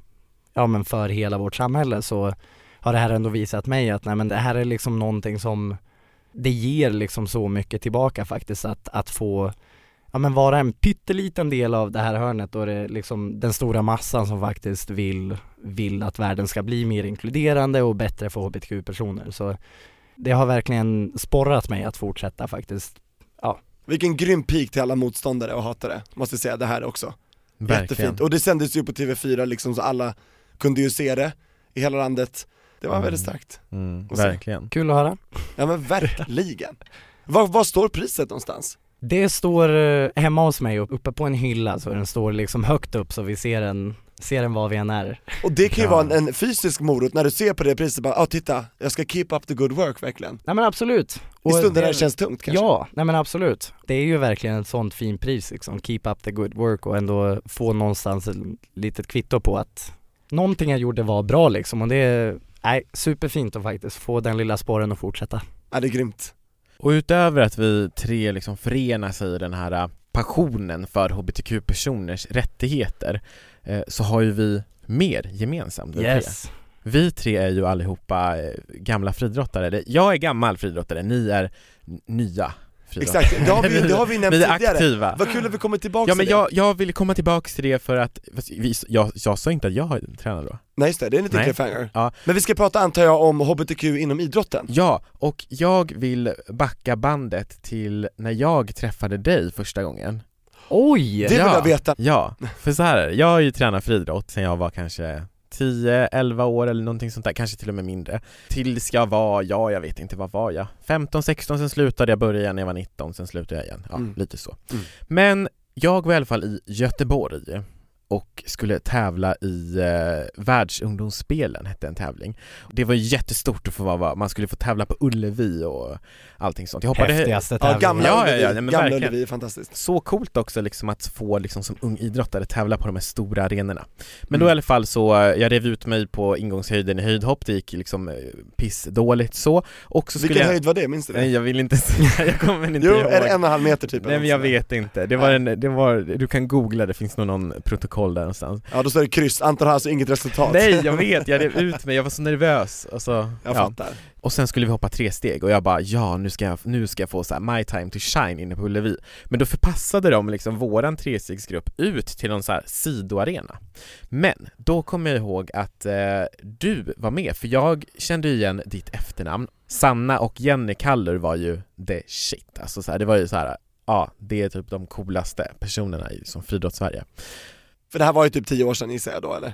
Speaker 1: ja men för hela vårt samhälle så har det här ändå visat mig att nej men det här är liksom någonting som det ger liksom så mycket tillbaka faktiskt att, att få ja men vara en pytteliten del av det här hörnet och det är liksom den stora massan som faktiskt vill, vill att världen ska bli mer inkluderande och bättre för hbtq-personer så det har verkligen sporrat mig att fortsätta faktiskt
Speaker 4: Vilken grym pik till alla motståndare och hatare, måste jag säga det här också. Jättefint. Och det sändes ju på TV4 liksom så alla kunde ju se det i hela landet. Det var
Speaker 2: Mm.
Speaker 4: väldigt starkt.
Speaker 2: Mm,
Speaker 4: Och så-
Speaker 2: verkligen.
Speaker 1: Kul att höra
Speaker 4: Ja men verkligen. Var, var står priset någonstans?
Speaker 1: Det står eh, hemma hos mig och uppe på en hylla så den står liksom högt upp så vi ser den, ser den var vi än är.
Speaker 4: Och det kan
Speaker 1: Ja.
Speaker 4: ju vara en, en fysisk morot när du ser på det priset, bara ah, titta, jag ska keep up the good work verkligen.
Speaker 1: Nej men absolut.
Speaker 4: I stunder när det
Speaker 1: det-
Speaker 4: känns tungt kanske.
Speaker 1: Ja, nej men absolut. Det är ju verkligen ett sånt fint pris liksom, keep up the good work och ändå få någonstans ett litet kvitto på att någonting jag gjorde var bra liksom och det är, nej, superfint att faktiskt få den lilla sporren att fortsätta.
Speaker 4: Ja det är grymt.
Speaker 2: Och utöver att vi tre liksom förenar sig i den här eh, passionen för hbtq-personers rättigheter eh, så har ju vi mer gemensamt vi tre. Vi tre är ju allihopa eh, gamla friidrottare, Eller, jag är gammal friidrottare, ni är n- nya friidrottare
Speaker 4: Exakt, det har vi, det har vi nämnt
Speaker 2: Vi är
Speaker 4: tidigare.
Speaker 2: aktiva
Speaker 4: Vad kul att vi kommer tillbaka
Speaker 2: Ja men
Speaker 4: till det.
Speaker 2: jag, jag vill komma tillbaks till det för att, fast vi, jag, jag sa inte att jag har tränat då
Speaker 4: Nej just det, det är en liten
Speaker 2: Nej.
Speaker 4: cliffhanger.
Speaker 2: Ja.
Speaker 4: Men vi ska prata antar jag om HBTQ inom idrotten.
Speaker 2: Ja, och jag vill backa bandet till när jag träffade dig första gången
Speaker 1: Oj!
Speaker 4: Det vill
Speaker 2: Ja.
Speaker 4: jag veta.
Speaker 2: Ja, för så här är det. jag har ju tränat friidrott sen jag var kanske 10, 11 år eller någonting sånt där, kanske till och med mindre Tills jag var, ja jag vet inte, vad var jag? 15, 16, sen slutade jag, började igen när jag var 19, sen slutade jag igen, ja
Speaker 4: Mm.
Speaker 2: lite så
Speaker 4: Mm.
Speaker 2: Men jag var i alla fall i Göteborg och skulle tävla i eh, världsungdomsspelen, hette en tävling. Det var ju jättestort att få vara, man skulle få tävla på Ullevi och allting sånt. Jag hoppade
Speaker 1: Häftigaste
Speaker 4: Ja,
Speaker 1: tävlingen.
Speaker 4: gamla
Speaker 2: Ja, ja, ja,
Speaker 4: Ullevi,
Speaker 2: nej, men
Speaker 4: gamla
Speaker 2: verkligen.
Speaker 4: Ullevi är fantastiskt.
Speaker 2: så coolt också liksom att få liksom som ung idrottare tävla på de här stora arenorna. Men då
Speaker 1: Mm.
Speaker 2: i alla fall så, eh, jag rev ut mig på ingångshöjden i höjdhopp, det gick liksom eh, pissdåligt så. Och så skulle
Speaker 4: Vilken
Speaker 2: jag...
Speaker 4: höjd var det, minns du det?
Speaker 2: Nej jag vill inte säga, jag kommer inte
Speaker 4: Jo,
Speaker 2: ihåg.
Speaker 4: är det en och en halv meter typ?
Speaker 2: Nej men jag vet inte, det var en, det var, du kan googla, det finns nog någon protokoll där någonstans.
Speaker 4: Ja då står det kryss, Anton har alltså inget resultat.
Speaker 2: Nej jag vet, jag rev ut mig, jag var så nervös. Alltså,
Speaker 4: Jag
Speaker 2: ja.
Speaker 4: fattar.
Speaker 2: Och sen skulle vi hoppa tre steg och jag bara ja, nu ska jag, nu ska jag få så här my time to shine inne på Ullevi. Men då förpassade de liksom våran trestegsgrupp ut till någon så här sidoarena. Men då kom jag ihåg att eh, du var med, för jag kände ju igen ditt efternamn. Sanna och Jenny Kallur var ju the shit, alltså så här, det var ju så här, ja, det är typ de coolaste personerna i som friidrotts-Sverige.
Speaker 4: För det här var ju typ 10 år sedan gissar jag då eller?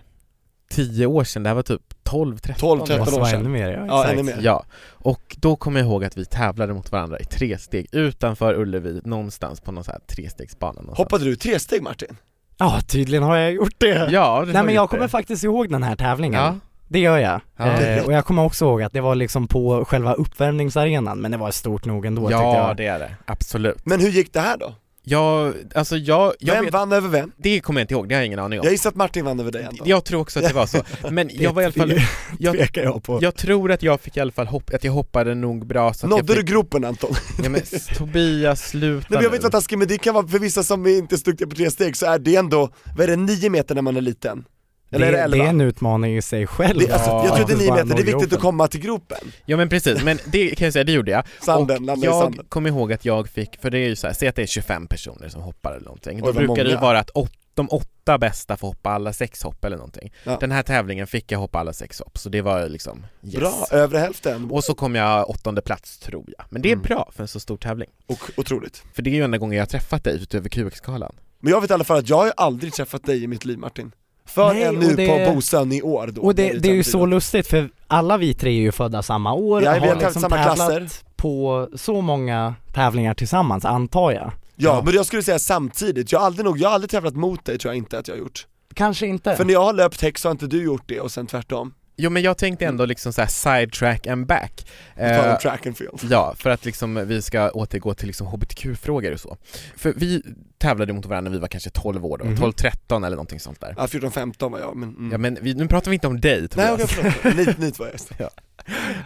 Speaker 2: Tio år sedan, det här var typ 12, 13
Speaker 4: 12, 13
Speaker 1: Måste
Speaker 4: år
Speaker 1: vara
Speaker 4: sedan.
Speaker 1: ännu mer, ja,
Speaker 4: Ja,
Speaker 1: exakt.
Speaker 4: ännu mer.
Speaker 2: Ja, och då kommer jag ihåg att vi tävlade mot varandra i tre steg utanför Ullevi, någonstans på någon så här trestegsbana någonstans.
Speaker 4: Hoppade du tre steg Martin?
Speaker 1: Ja, tydligen har jag gjort det.
Speaker 2: Ja, det
Speaker 1: Nej men jag
Speaker 2: gjorde.
Speaker 1: kommer faktiskt ihåg den här tävlingen.
Speaker 2: Ja,
Speaker 1: Det gör jag.
Speaker 2: Ja.
Speaker 1: Eh, och jag kommer också ihåg att det var liksom på själva uppvärmningsarenan, men det var stort nog ändå tyckte
Speaker 2: ja
Speaker 1: jag.
Speaker 2: det är det, absolut.
Speaker 4: Men hur gick det här då?
Speaker 2: Jag, alltså jag, jag
Speaker 4: Vem
Speaker 2: vet,
Speaker 4: vann över vem?
Speaker 2: det kommer jag inte ihåg, det har jag ingen aning om.
Speaker 4: Jag gissar att Martin vann över dig Anton.
Speaker 2: Jag tror också att det var så, men jag var i alla fall, jag,
Speaker 1: Pekar jag på.
Speaker 2: jag tror att jag fick i alla fall hopp, att jag hoppade nog bra så att
Speaker 4: Nådde du
Speaker 2: jag fick,
Speaker 4: gropen Anton? Nej,
Speaker 2: Nej men s- Tobias sluta
Speaker 4: men jag vet
Speaker 2: nu.
Speaker 4: vad taskigt men det kan vara, för vissa som inte är så duktiga på tre steg så är det ändå, vad är det, 9 meter när man är liten? Eller
Speaker 1: det,
Speaker 4: är det
Speaker 1: det är
Speaker 4: 11?
Speaker 1: en utmaning i sig själv.
Speaker 4: Det, alltså, jag tror det är 9
Speaker 1: Bara
Speaker 4: meter, det är
Speaker 1: några
Speaker 4: viktigt
Speaker 1: år.
Speaker 4: att komma till gropen.
Speaker 2: Ja men precis, men det kan jag säga, det gjorde jag.
Speaker 4: Sanden,
Speaker 2: och
Speaker 4: landa i
Speaker 2: jag
Speaker 4: sanden.
Speaker 2: kommer ihåg att jag fick, för det är ju så här, säg att det är 25 personer som hoppar eller någonting, då
Speaker 4: Oj, vad
Speaker 2: brukar det ju
Speaker 4: många.
Speaker 2: vara att åt, de åtta bästa får hoppa alla sex hopp eller någonting.
Speaker 4: Ja.
Speaker 2: Den här tävlingen fick jag hoppa alla sex hopp, så det var ju liksom yes.
Speaker 4: Bra, övre hälften.
Speaker 2: Och så kom jag åttonde plats tror jag, men det är
Speaker 4: Mm.
Speaker 2: bra för en så stor tävling.
Speaker 4: Och, otroligt.
Speaker 2: För det är ju enda gången jag har träffat dig utöver QX-galan.
Speaker 4: Men jag vet i alla fall att jag har ju aldrig träffat dig i mitt liv Martin. Förrän
Speaker 1: Nej, och
Speaker 4: nu
Speaker 1: det-
Speaker 4: på Bosön i år då.
Speaker 1: Och
Speaker 4: när
Speaker 1: det,
Speaker 4: vi
Speaker 1: det är ju
Speaker 4: träffade
Speaker 1: så
Speaker 4: då.
Speaker 1: lustigt för alla vi tre är ju födda samma år och
Speaker 4: Ja, vi
Speaker 1: har
Speaker 4: har
Speaker 1: liksom
Speaker 4: samma
Speaker 1: tävlat
Speaker 4: klasser.
Speaker 1: på så många tävlingar tillsammans antar jag.
Speaker 4: Ja, men jag skulle säga samtidigt, jag har aldrig nog, jag har aldrig tävlat mot dig tror jag inte att jag har gjort.
Speaker 1: Kanske inte.
Speaker 4: För när jag har löpt häck så har inte du gjort det och sen tvärtom,
Speaker 2: Jo men jag tänkte ändå liksom så här side track and back.
Speaker 4: Mm. på tal
Speaker 2: Eh,
Speaker 4: om track and field.
Speaker 2: Ja, för att liksom vi ska återgå till liksom hbtq-frågor och så. För vi tävlade mot varandra när vi var kanske 12 år då,
Speaker 1: Mhm.
Speaker 2: 12-13 eller någonting sånt där.
Speaker 4: Ja 14-15 var jag, men, mm.
Speaker 2: Ja men vi, nu pratar vi inte om dig
Speaker 4: Nej
Speaker 2: Tobias,
Speaker 4: okej förlåt, nit, nit var jag just.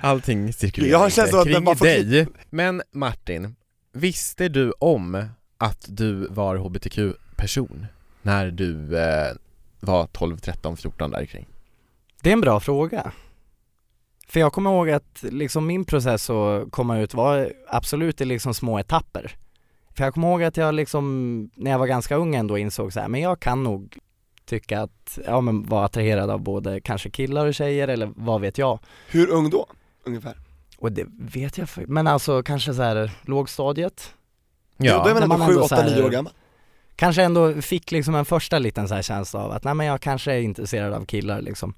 Speaker 2: allting cirkulerar
Speaker 4: Jag har en
Speaker 2: inte
Speaker 4: känsla av att
Speaker 2: kring
Speaker 4: man får
Speaker 2: dig. Men Martin, visste du om att du var hbtq-person när du eh, var 12, 13, 14 där kring?
Speaker 1: Det är en bra fråga. För jag kommer ihåg att liksom min process att komma ut var absolut i liksom små etapper. För jag kommer ihåg att jag liksom, när jag var ganska ung ändå insåg så här, men jag kan nog tycka att, ja men vara attraherad av både kanske killar och tjejer eller vad vet jag.
Speaker 4: Hur ung då? Ungefär.
Speaker 1: Och det vet jag för, men alltså kanske så här lågstadiet.
Speaker 4: Ja, då är man
Speaker 1: när
Speaker 4: ändå
Speaker 1: man
Speaker 4: 7,
Speaker 1: ändå
Speaker 4: 8,
Speaker 1: så här-
Speaker 4: 9 år gammal.
Speaker 1: Kanske ändå fick liksom en första liten så här känsla av att nej men jag kanske är intresserad av killar liksom.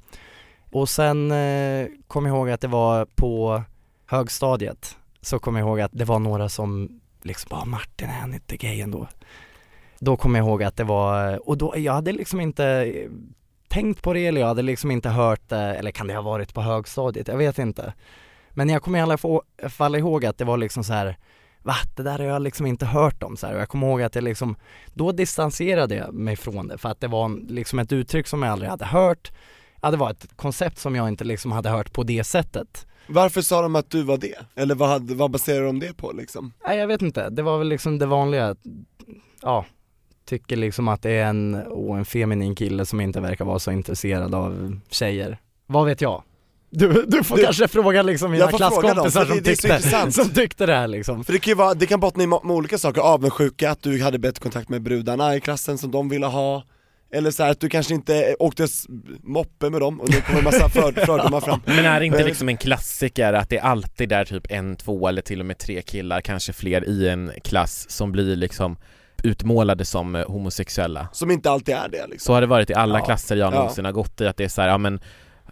Speaker 1: Och sen eh, kom jag ihåg att det var på högstadiet så kom jag ihåg att det var några som liksom bara Martin är han inte gay ändå? Då kom jag ihåg att det var, och då, jag hade liksom inte eh, tänkt på det eller jag hade liksom inte hört det, eller kan det ha varit på högstadiet? Jag vet inte. Men jag kommer i alla få- fall ihåg att det var liksom så här va? Det där har jag liksom inte hört om så här. Och jag kommer ihåg att jag liksom, då distanserade jag mig från det för att det var en- liksom ett uttryck som jag aldrig hade hört. Ja, det var ett koncept som jag inte liksom hade hört på det sättet.
Speaker 4: Varför sa de att du var det? Eller vad, hade, vad baserade de det på liksom?
Speaker 1: Nej, jag vet inte. Det var väl liksom det vanliga, ja, tycker liksom att det är en, åh, en feminin kille som inte verkar vara så intresserad av tjejer. Vad vet jag? Du, du får
Speaker 4: Du-
Speaker 1: kanske fråga liksom mina
Speaker 4: Jag får fråga dem,
Speaker 1: klasskompisar
Speaker 4: för det-
Speaker 1: som,
Speaker 4: det är så
Speaker 1: tyckte,
Speaker 4: intressant.
Speaker 1: som tyckte det här liksom.
Speaker 4: För det kan ju vara, det kan bottna i ma- med olika saker, avundsjuka, att du hade bättre kontakt med brudarna i klassen som de ville ha eller så här att du kanske inte åkte s- moppe med dem och nu kommer en massa för, fördomar fram
Speaker 2: Men är det inte
Speaker 4: Eh,
Speaker 2: liksom en klassiker att det alltid är typ en, två eller till och med tre killar, kanske fler i en klass som blir liksom utmålade som eh, homosexuella?
Speaker 4: Som inte alltid är det liksom
Speaker 2: Så har det varit i alla
Speaker 1: Ja.
Speaker 2: klasser jag
Speaker 4: Ja.
Speaker 2: någonsin har gått i, att det är så här, ja men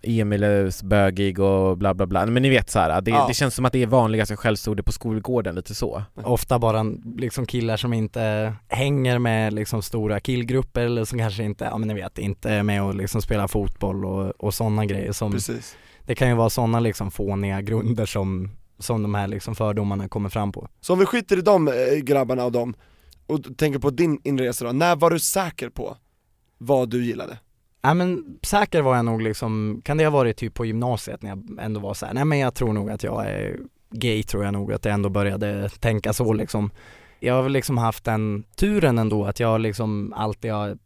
Speaker 2: Emil är bögig och bla bla bla, men ni vet såhär, det,
Speaker 4: Ja.
Speaker 2: det känns som att det är vanligaste skällsordet på skolgården, lite så
Speaker 1: Ofta bara liksom killar som inte hänger med liksom stora killgrupper eller som kanske inte, ja men ni vet, inte är med och liksom spelar fotboll och, och sådana grejer som,
Speaker 4: Precis.
Speaker 1: det kan ju vara sådana liksom fåniga grunder som, som de här liksom fördomarna kommer fram på.
Speaker 4: Så om vi skiter i de eh, grabbarna och dem, och t- tänker på din inresa då, när var du säker på vad du gillade?
Speaker 1: Nej men säker var jag nog liksom, kan det ha varit typ på gymnasiet när jag ändå var så här, nej men jag tror nog att jag är gay tror jag nog att jag ändå började tänka så liksom. Jag har väl liksom haft den turen ändå att jag liksom alltid har,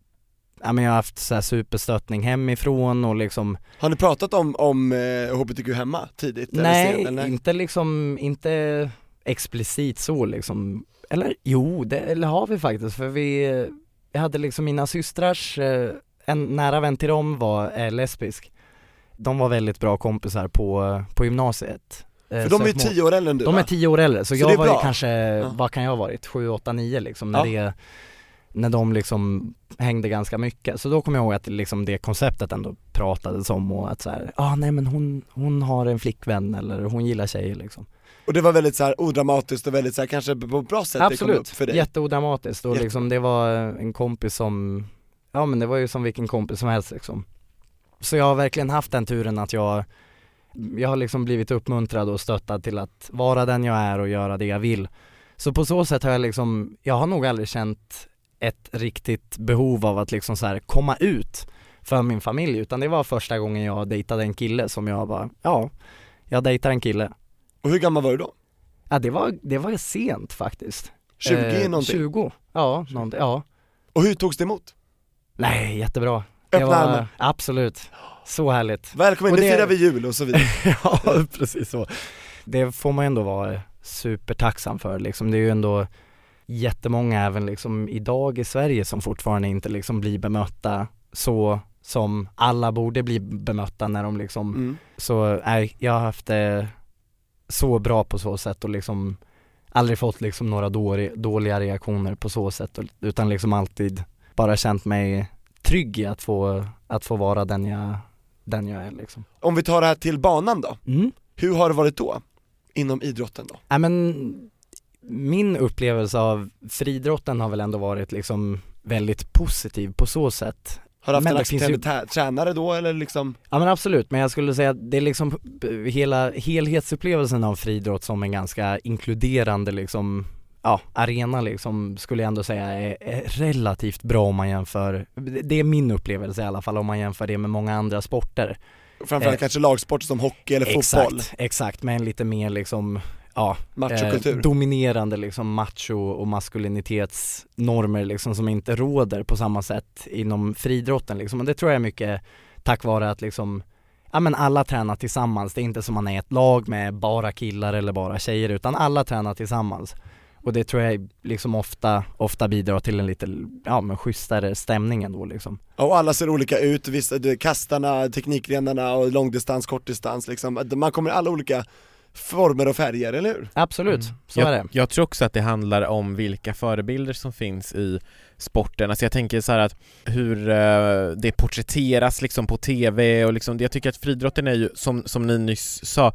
Speaker 1: ja men jag har haft så här superstöttning hemifrån och liksom,
Speaker 4: Har ni pratat om, om eh, HBTQ hemma tidigt? eller eh,
Speaker 1: nej
Speaker 4: sen, eller?
Speaker 1: inte liksom, inte explicit så liksom. Eller jo, det eller har vi faktiskt för vi, jag hade liksom mina systrars, eh, en nära vän till dem var eh, lesbisk. De var väldigt bra kompisar på, på gymnasiet. Eh,
Speaker 4: För
Speaker 1: så
Speaker 4: de är ju
Speaker 1: att må-
Speaker 4: tio år äldre än du
Speaker 1: de
Speaker 4: va?
Speaker 1: är tio år äldre, så,
Speaker 4: Så det är
Speaker 1: jag var ju
Speaker 4: bra.
Speaker 1: kanske, vad kan jag ha varit, sju, åtta, nio liksom när
Speaker 4: Ja.
Speaker 1: det, när de liksom hängde ganska mycket. Så då kommer jag ihåg att liksom det konceptet ändå pratades om och att så här, ah, nej men hon, hon har en flickvän eller hon gillar tjejer liksom.
Speaker 4: Och det var väldigt så här odramatiskt och väldigt så här, kanske på ett bra sätt det kom upp
Speaker 1: Absolut,
Speaker 4: för dig?
Speaker 1: jätteodramatiskt och
Speaker 4: Jätte-
Speaker 1: liksom det var en kompis som, ja men det var ju som vilken kompis som helst liksom. Så jag har verkligen haft den turen att jag, jag har liksom blivit uppmuntrad och stöttad till att vara den jag är och göra det jag vill. Så på så sätt har jag liksom, jag har nog aldrig känt ett riktigt behov av att liksom så här komma ut för min familj utan det var första gången jag dejtade en kille som jag bara, ja, jag dejtar en kille.
Speaker 4: Och hur gammal var du då?
Speaker 1: Ja det var, det var sent faktiskt.
Speaker 4: 20
Speaker 1: Eh,
Speaker 4: någonting?
Speaker 1: 20, ja, någonting, ja.
Speaker 4: Och hur togs det emot?
Speaker 1: Nej, jättebra. Det
Speaker 4: Öppna armar.
Speaker 1: Absolut. Så härligt.
Speaker 4: Välkommen,
Speaker 1: Och
Speaker 4: det...
Speaker 1: det-
Speaker 4: firar vi jul och så vidare
Speaker 1: ja, precis så. Det får man ju ändå vara supertacksam för liksom. Det är ju ändå jättemånga även liksom idag i Sverige som fortfarande inte liksom blir bemötta så som alla borde bli bemötta när de liksom
Speaker 4: mm.
Speaker 1: Så nej, jag har haft det så bra på så sätt och liksom aldrig fått liksom några dåri- dåliga reaktioner på så sätt och- utan liksom alltid bara känt mig trygg i att få, att få vara den jag, den jag är liksom.
Speaker 4: Om vi tar det här till banan då,
Speaker 1: Mm.
Speaker 4: hur har det varit då? Inom idrotten då?
Speaker 1: Nej men min upplevelse av friidrotten har väl ändå varit liksom väldigt positiv på så sätt
Speaker 4: Har du haft
Speaker 1: Men
Speaker 4: en
Speaker 1: det finns
Speaker 4: accepterande tä- tränare då eller liksom?
Speaker 1: Ja men absolut, men jag skulle säga att det är liksom eh, hela helhetsupplevelsen av friidrott som en ganska inkluderande liksom Ja, arena liksom skulle jag ändå säga är, är relativt bra om man jämför, det är min upplevelse i alla fall om man jämför det med många andra sporter.
Speaker 4: Framförallt
Speaker 1: Eh,
Speaker 4: kanske lagsporter som hockey eller fotboll,
Speaker 1: Exakt, exakt, men lite mer liksom, ja,
Speaker 4: machokultur?
Speaker 1: eh, dominerande liksom macho och maskulinitetsnormer liksom som inte råder på samma sätt inom friidrotten liksom. Och det tror jag är mycket tack vare att liksom Ja men alla tränar tillsammans, det är inte som man är ett lag med bara killar eller bara tjejer utan alla tränar tillsammans. Och det tror jag liksom ofta, ofta bidrar till en lite, ja men schysstare stämning ändå liksom.
Speaker 4: Ja, och alla ser olika ut, vissa, det är kastarna, teknikgrenarna och långdistans, kortdistans liksom. Man kommer i alla olika former och färger, eller hur?
Speaker 1: Absolut,
Speaker 4: Mm.
Speaker 1: så
Speaker 2: Mm. jag,
Speaker 1: är det.
Speaker 2: jag tror också att det handlar om vilka förebilder som finns i sporten, alltså jag tänker så här att hur eh, det porträtteras liksom på TV och liksom, jag tycker att friidrotten är ju, som, som ni nyss sa,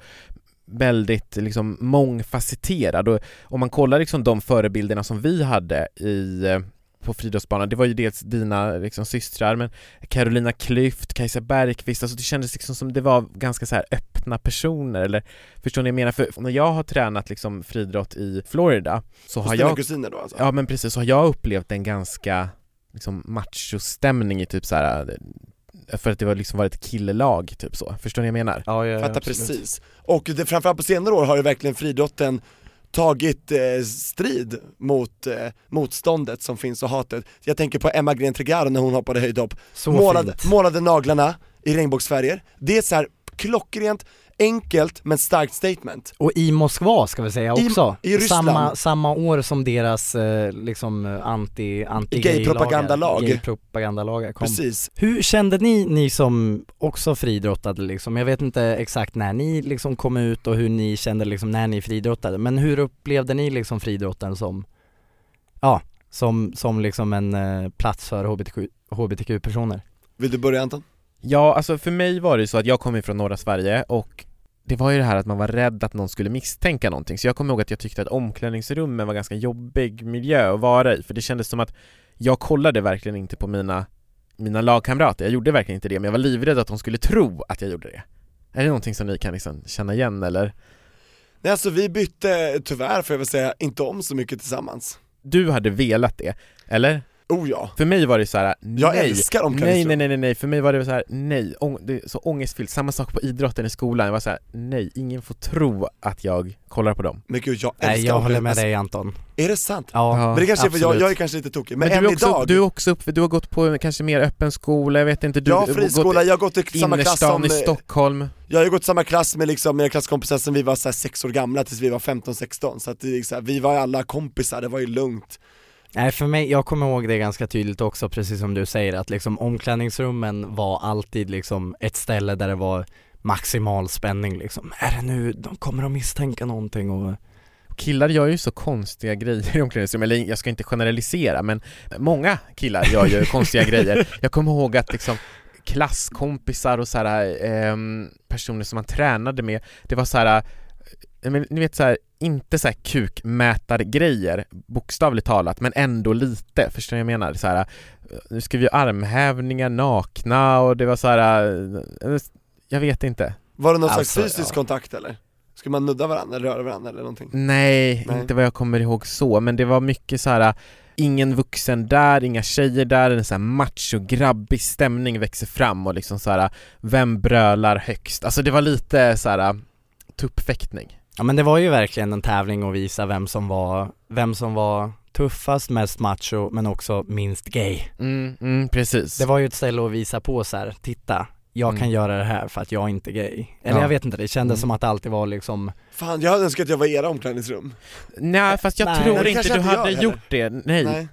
Speaker 2: väldigt liksom mångfacetterad och om man kollar liksom de förebilderna som vi hade i eh, på friidrottsbanan, det var ju dels dina liksom, systrar men Carolina Klüft, Kajsa Bergqvist, alltså det kändes liksom som det var ganska så här öppna personer eller Förstår ni vad jag menar? För när jag har tränat liksom friidrott i Florida så
Speaker 4: Hos
Speaker 2: har
Speaker 4: dina
Speaker 2: jag
Speaker 4: kusiner då alltså?
Speaker 2: Ja men precis, så har jag upplevt en ganska liksom machostämning i typ så här för att det var liksom varit ett killelag typ så, förstår ni vad jag menar?
Speaker 1: Ja, jag
Speaker 4: Fattar precis. Och det, framförallt på senare år har ju verkligen friidrotten tagit eh, strid mot eh, motståndet som finns och hatet. Jag tänker på Emma Gren Trigaro när hon hoppade höjdhopp,
Speaker 1: Så
Speaker 4: målade,
Speaker 1: fint.
Speaker 4: målade naglarna i regnbågsfärger. Det är så här klockrent, enkelt men starkt statement.
Speaker 1: Och i Moskva ska vi säga
Speaker 4: I-
Speaker 1: också.
Speaker 4: i Ryssland.
Speaker 1: samma, samma år som deras eh, liksom eh, anti, anti
Speaker 4: Gay-propagandalag.
Speaker 1: Gay-propagandalagar kom.
Speaker 4: Precis.
Speaker 1: Hur kände ni, ni som också friidrottade liksom? Jag vet inte exakt när ni liksom kom ut och hur ni kände liksom när ni friidrottade, men hur upplevde ni liksom friidrotten som, ja, som, som liksom en eh, plats för HBTQ, hbtq-personer?
Speaker 4: Vill du börja Anton?
Speaker 2: Ja, alltså för mig var det ju så att jag kom ifrån norra Sverige och det var ju det här att man var rädd att någon skulle misstänka någonting, så jag kommer ihåg att jag tyckte att omklädningsrummen var ganska jobbig miljö att vara i, för det kändes som att jag kollade verkligen inte på mina, mina lagkamrater, jag gjorde verkligen inte det, men jag var livrädd att de skulle tro att jag gjorde det. Är det någonting som ni kan liksom känna igen eller?
Speaker 4: Nej alltså vi bytte tyvärr får jag väl säga inte om så mycket tillsammans.
Speaker 2: Du hade velat det, eller?
Speaker 4: Oh ja.
Speaker 2: För mig var det så här: nej,
Speaker 4: Jag älskar
Speaker 2: nej,
Speaker 4: omklädningsrum.
Speaker 2: nej, nej, nej, nej, för mig var det så här, nej, ång- det är så ångestfyllt, samma sak på idrotten i skolan, jag var så här, nej, ingen får tro att jag kollar på dem.
Speaker 4: Men gud jag älskar
Speaker 1: Nej, jag håller med
Speaker 4: omklädningsrum.
Speaker 1: dig Anton.
Speaker 4: Alltså, Är det sant?
Speaker 1: Ja,
Speaker 2: Ja,
Speaker 4: men det kanske är för jag,
Speaker 1: absolut.
Speaker 4: jag är kanske lite tokig, men,
Speaker 2: Men,
Speaker 4: än
Speaker 2: du, är också,
Speaker 4: idag,
Speaker 2: du är också upp, du har gått på en kanske mer öppen skola, jag vet inte, du
Speaker 4: jag har friskola, jag har gått i
Speaker 2: gått
Speaker 4: samma klass som,
Speaker 2: innerstan i Stockholm.
Speaker 4: jag har ju gått i samma klass med liksom mina klasskompisar sen vi var så här sex år gamla tills vi var 15-16 så att det är så här, vi var alla kompisar, det var ju lugnt.
Speaker 1: Nej för mig, jag kommer ihåg det ganska tydligt också precis som du säger att liksom omklädningsrummen var alltid liksom ett ställe där det var maximal spänning liksom. Är det nu, de kommer att misstänka någonting och
Speaker 2: Killar gör ju så konstiga grejer i omklädningsrum, eller jag ska inte generalisera men många killar gör ju konstiga grejer. Jag kommer ihåg att liksom klasskompisar och så här, ehm, personer som man tränade med, det var så här, eh, men, ni vet så här, inte så här kukmätargrejer, bokstavligt talat, men ändå lite, förstår ni vad jag menar? Så här, eh, nu ska vi göra armhävningar nakna och det var så här, eh, jag vet inte.
Speaker 4: Var det någon
Speaker 1: Alltså,
Speaker 4: slags fysisk
Speaker 1: ja.
Speaker 4: kontakt eller? Skulle man nudda varandra, röra varandra eller någonting?
Speaker 2: Nej,
Speaker 4: Nej.
Speaker 2: inte vad jag kommer ihåg så, men det var mycket så här. äh, Ingen vuxen där, inga tjejer där, en så här macho, grabbig stämning växer fram och liksom så här. vem brölar högst? Alltså det var lite så här äh, tuppfäktning.
Speaker 1: Ja men det var ju verkligen en tävling att visa vem som var, vem som var tuffast, mest macho men också minst gay.
Speaker 2: Mm, mm, precis.
Speaker 1: Det var ju ett ställe att visa på så här, titta, jag kan
Speaker 2: Mm.
Speaker 1: göra det här för att jag är inte gay. Eller
Speaker 2: Ja.
Speaker 1: jag vet inte, det kändes
Speaker 2: Mm.
Speaker 1: som att det alltid var liksom,
Speaker 4: Fan jag hade önskat att jag var i era omklädningsrum.
Speaker 2: Nej fast jag
Speaker 1: Nej.
Speaker 2: tror
Speaker 4: Men det
Speaker 2: inte
Speaker 4: kanske
Speaker 2: du
Speaker 4: inte jag
Speaker 2: hade
Speaker 4: heller.
Speaker 2: gjort det, nej.
Speaker 4: Nej.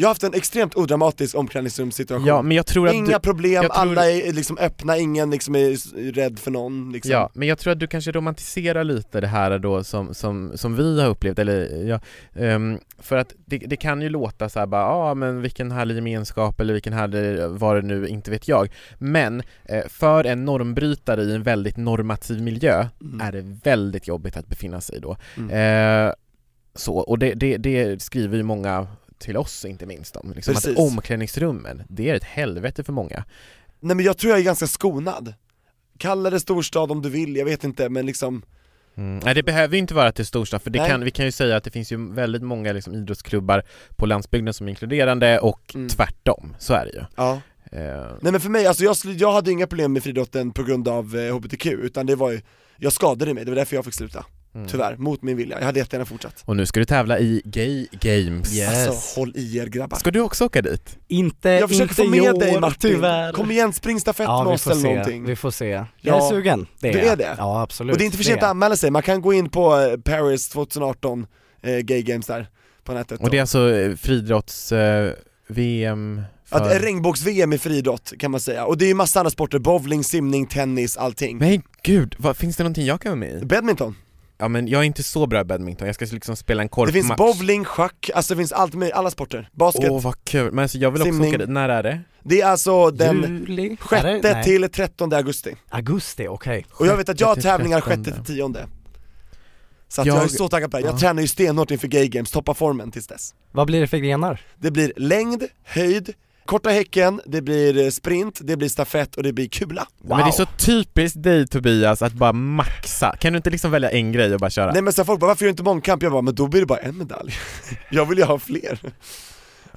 Speaker 4: Jag har haft en extremt odramatisk omklädningsrumssituation.
Speaker 2: Ja men jag tror att
Speaker 4: Inga
Speaker 2: du,
Speaker 4: problem,
Speaker 2: jag tror-
Speaker 4: alla är liksom öppna, ingen liksom är s- rädd för någon liksom.
Speaker 2: Ja, men jag tror att du kanske romantiserar lite det här då som, som, som vi har upplevt, eller ja, ehm, för att det, det kan ju låta så här bara, ja ah, men vilken härlig gemenskap eller vilken härlig, var det nu, inte vet jag. Men eh, för en normbrytare i en väldigt normativ miljö
Speaker 4: Mm.
Speaker 2: är det väldigt jobbigt att befinna sig i då.
Speaker 4: Mm.
Speaker 2: Eh, så, och det, det, det skriver ju många till oss inte minst om, liksom att
Speaker 4: Precis.
Speaker 2: omklädningsrummen, det är ett helvete för många.
Speaker 4: Nej men jag tror jag är ganska skonad. Kalla det storstad om du vill, jag vet inte men liksom,
Speaker 2: Mm. Nej det behöver ju inte vara till storstad för det
Speaker 4: Nej.
Speaker 2: kan, vi kan ju säga att det finns ju väldigt många liksom, idrottsklubbar på landsbygden som är inkluderande och
Speaker 4: Mm.
Speaker 2: tvärtom, så är det ju.
Speaker 4: ja.
Speaker 2: Eh,
Speaker 4: Nej men för mig, alltså jag, slu- jag hade inga problem med friidrotten på grund av eh, HBTQ utan det var ju, jag skadade mig, det var därför jag fick sluta.
Speaker 2: mm.
Speaker 4: Tyvärr, mot min vilja. Jag hade jättegärna fortsatt.
Speaker 2: Och nu ska du tävla i Gay Games.
Speaker 1: Yes.
Speaker 4: Alltså håll i er grabbar.
Speaker 2: Ska du också åka dit?
Speaker 1: inte,
Speaker 4: Jag försöker
Speaker 1: inte
Speaker 4: få
Speaker 1: i
Speaker 4: med
Speaker 1: år,
Speaker 4: dig Martin.
Speaker 1: tyvärr.
Speaker 4: Kom igen, spring stafett
Speaker 1: Ja
Speaker 4: med
Speaker 1: vi
Speaker 4: oss
Speaker 1: får
Speaker 4: eller
Speaker 1: se,
Speaker 4: någonting.
Speaker 1: vi får se. Jag
Speaker 4: Ja.
Speaker 1: är sugen, det
Speaker 4: Du är
Speaker 1: jag.
Speaker 4: det?
Speaker 1: Ja absolut.
Speaker 4: Och det är inte för sent
Speaker 1: är
Speaker 4: att anmäla sig, man kan gå in på eh, Paris 2018 eh, Gay Games där på nätet.
Speaker 2: Och det är alltså eh, friidrotts eh, VM
Speaker 4: Att
Speaker 2: för...
Speaker 4: regnbågs-VM i friidrott kan man säga, och det är ju massa andra sporter, bowling, simning, tennis, allting.
Speaker 2: Nej gud, vad, finns det någonting jag kan vara med i?
Speaker 4: Badminton,
Speaker 2: Ja men jag är inte så bra i badminton, jag ska liksom spela en
Speaker 4: det
Speaker 2: korpmatch.
Speaker 4: finns bowling, schack, alltså det finns allt med alla sporter. Basket,
Speaker 2: Åh vad kul, men alltså jag vill också
Speaker 4: Simning.
Speaker 2: åka dit, när är det?
Speaker 4: det är alltså den
Speaker 1: Juli? Är
Speaker 4: 6
Speaker 1: det? Nej.
Speaker 4: till 13 augusti.
Speaker 1: Augusti, okej.
Speaker 4: Och jag vet att jag har
Speaker 2: Sjätte till
Speaker 4: tävlingar 6
Speaker 2: trettonde.
Speaker 4: till 10 Så att jag,
Speaker 2: Jag-
Speaker 4: är så taggad på det här. jag
Speaker 2: Ja.
Speaker 4: tränar ju stenhårt inför Gay Games, toppar formen tills dess.
Speaker 1: Vad blir det för grenar?
Speaker 4: Det blir längd, höjd, korta häcken, det blir eh, sprint, det blir stafett och det blir kula.
Speaker 2: Men det är så typiskt dig Tobias att bara maxa, kan du inte liksom välja en grej och bara köra?
Speaker 4: Nej men sen folk bara, varför gör du inte mångkamp? Jag bara, men då blir det bara en medalj. jag vill ju ha fler.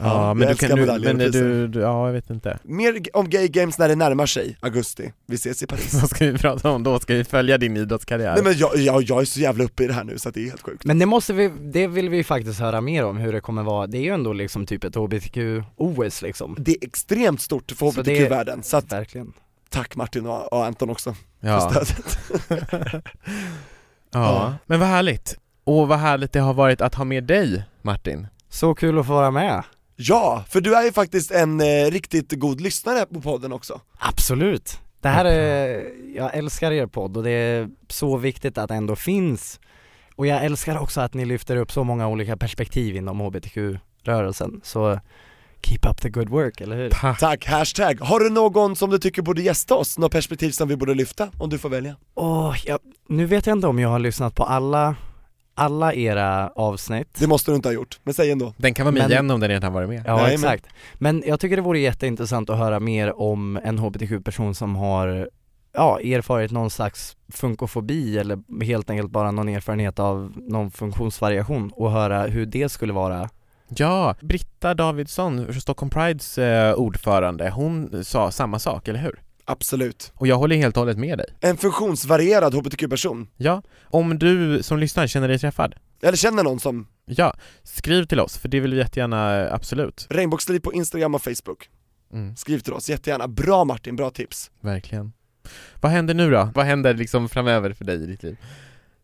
Speaker 2: Ja,
Speaker 4: jag
Speaker 2: men du
Speaker 4: älskar
Speaker 2: kan, du,
Speaker 4: medaljer och
Speaker 2: men du,
Speaker 4: priser.
Speaker 2: du, ja jag vet inte.
Speaker 4: Mer g- om Gay Games när det närmar sig augusti, vi ses i Paris.
Speaker 2: Vad ska vi prata om då? Ska vi följa din idrottskarriär?
Speaker 4: Nej men jag, jag, jag är så jävla uppe i det här nu så att det är helt sjukt.
Speaker 1: Men det måste vi, det vill vi faktiskt höra mer om hur det kommer vara. Det är ju ändå liksom typ ett HBTQ-OS liksom.
Speaker 4: Det är extremt stort för
Speaker 1: Så
Speaker 4: hbtq-världen, så att
Speaker 1: Verkligen.
Speaker 4: tack Martin och, och Anton också för
Speaker 2: ja.
Speaker 4: stödet.
Speaker 2: ja. Men vad härligt! Och vad härligt det har varit att ha med dig Martin.
Speaker 1: Så kul att få vara med.
Speaker 4: Ja, för du är ju faktiskt en eh, riktigt god lyssnare på podden också.
Speaker 1: Absolut. Det här är, jag älskar er podd och det är så viktigt att det ändå finns. Och jag älskar också att ni lyfter upp så många olika perspektiv inom hbtq-rörelsen. Så Keep up the good work, eller hur?
Speaker 4: Tack, hashtag. Har du någon som du tycker borde gästa oss? Något perspektiv som vi borde lyfta? Om du får välja.
Speaker 1: Åh, jag, nu vet jag inte om jag har lyssnat på alla, alla era avsnitt.
Speaker 4: Det måste du inte ha gjort, men säg ändå.
Speaker 2: Den kan vara med
Speaker 1: Men-
Speaker 2: igen om den redan har varit med.
Speaker 1: Ja
Speaker 4: Nej, men-
Speaker 1: exakt. Men jag tycker det vore jätteintressant att höra mer om en hbtq-person som har ja, erfarit någon slags funkofobi eller helt enkelt bara någon erfarenhet av någon funktionsvariation och höra hur det skulle vara.
Speaker 2: Ja, Britta Davidsson, Stockholm Prides eh, ordförande, hon sa samma sak, eller hur?
Speaker 4: Absolut.
Speaker 2: Och jag håller helt och hållet med dig.
Speaker 4: En funktionsvarierad hbtq-person.
Speaker 2: Ja, om du som lyssnar känner dig träffad,
Speaker 4: Eller känner någon som
Speaker 2: ja, skriv till oss för det vill vi jättegärna, eh, absolut.
Speaker 4: Regnbågsliv på Instagram och Facebook.
Speaker 2: Mm,
Speaker 4: Skriv till oss jättegärna. Bra Martin, bra tips.
Speaker 2: verkligen. Vad händer nu då? Vad händer liksom framöver för dig i ditt liv?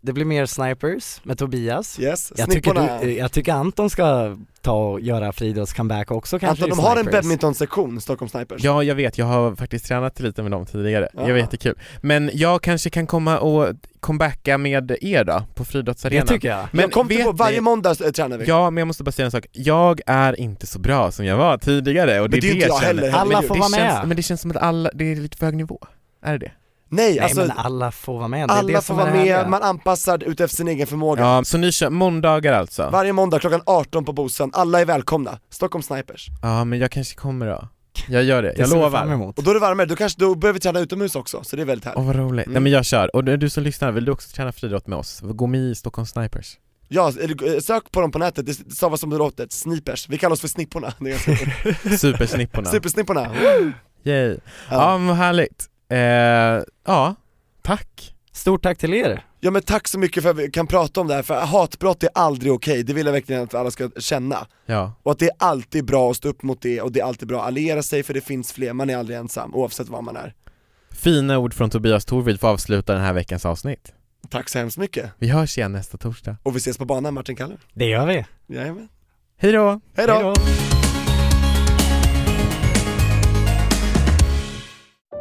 Speaker 1: Det blir mer Snipers med Tobias.
Speaker 4: Yes,
Speaker 1: Jag tycker,
Speaker 4: snipporna.
Speaker 1: du, eh, jag tycker Anton ska ta och göra Fridos comeback också kanske
Speaker 4: Anton,
Speaker 1: i
Speaker 4: de har en
Speaker 1: Snipers.
Speaker 4: badmintonsektion, Stockholm Snipers.
Speaker 2: Ja, jag vet, jag har faktiskt tränat lite med dem tidigare. Det
Speaker 4: Ah.
Speaker 2: var jättekul. Men jag kanske kan komma och comebacka med er då, på
Speaker 1: Det
Speaker 2: friidrottsarenan.
Speaker 1: tycker jag.
Speaker 2: Men
Speaker 4: jag kom till
Speaker 2: vet
Speaker 4: på, varje
Speaker 2: ni-
Speaker 4: måndag eh, tränar vi.
Speaker 2: Ja, men jag måste bara säga en sak. Jag är inte så bra som jag var tidigare och
Speaker 4: Men det är
Speaker 2: det
Speaker 4: ju inte jag
Speaker 2: känner.
Speaker 4: heller.
Speaker 1: Alla
Speaker 4: herregud.
Speaker 1: får
Speaker 2: det
Speaker 1: vara med.
Speaker 2: känns, Men det känns som att alla, det är lite för hög nivå. Är det det?
Speaker 4: Nej,
Speaker 1: Nej
Speaker 4: alltså
Speaker 1: men alla får vara med, det är
Speaker 4: alla
Speaker 1: det
Speaker 4: får
Speaker 1: som
Speaker 4: vara
Speaker 1: är det härliga.
Speaker 4: med, man anpassar utefter sin egen förmåga.
Speaker 2: Ja, så ni kör måndagar alltså?
Speaker 4: Varje måndag klockan 18 på Bosön, alla är välkomna. Stockholm Snipers.
Speaker 2: Ja, men jag kanske kommer då. Jag gör det,
Speaker 1: Det
Speaker 2: jag
Speaker 1: ser vi fram
Speaker 2: lovar.
Speaker 1: emot.
Speaker 4: Och då är det varmare, då, kanske, då börjar vi träna utomhus också, så det är väldigt härligt.
Speaker 2: Åh vad roligt.
Speaker 4: Mm.
Speaker 2: Nej men jag kör. Och du du som lyssnar, vill du också träna friidrott med oss? Gå med i Stockholm Snipers.
Speaker 4: Ja, eller, eh, sök på dem på nätet, det stavas som det låter, snipers. Vi kallar oss för snipporna. Det är ganska kul.
Speaker 2: Supersnipporna.
Speaker 4: Supersnipporna.
Speaker 2: Yay. Ja
Speaker 4: Ja.
Speaker 2: men vad härligt. Eh, ja, tack.
Speaker 1: Stort tack till er.
Speaker 4: ja men tack så mycket för att vi kan prata om det här, för hatbrott är aldrig okej, det vill jag verkligen att alla ska känna.
Speaker 2: Ja,
Speaker 4: Och att det är alltid bra att stå upp mot det, och det är alltid bra att alliera sig för det finns fler, man är aldrig ensam, oavsett var man är.
Speaker 2: fina ord från Tobias Torvid för att avsluta den här veckans avsnitt.
Speaker 4: Tack så hemskt mycket,
Speaker 2: Vi hörs igen nästa torsdag.
Speaker 4: och vi ses på banan Martin Kaller.
Speaker 1: Det gör vi.
Speaker 4: Jajamän.
Speaker 2: Hej då!
Speaker 4: Hejdå!
Speaker 1: Hej då.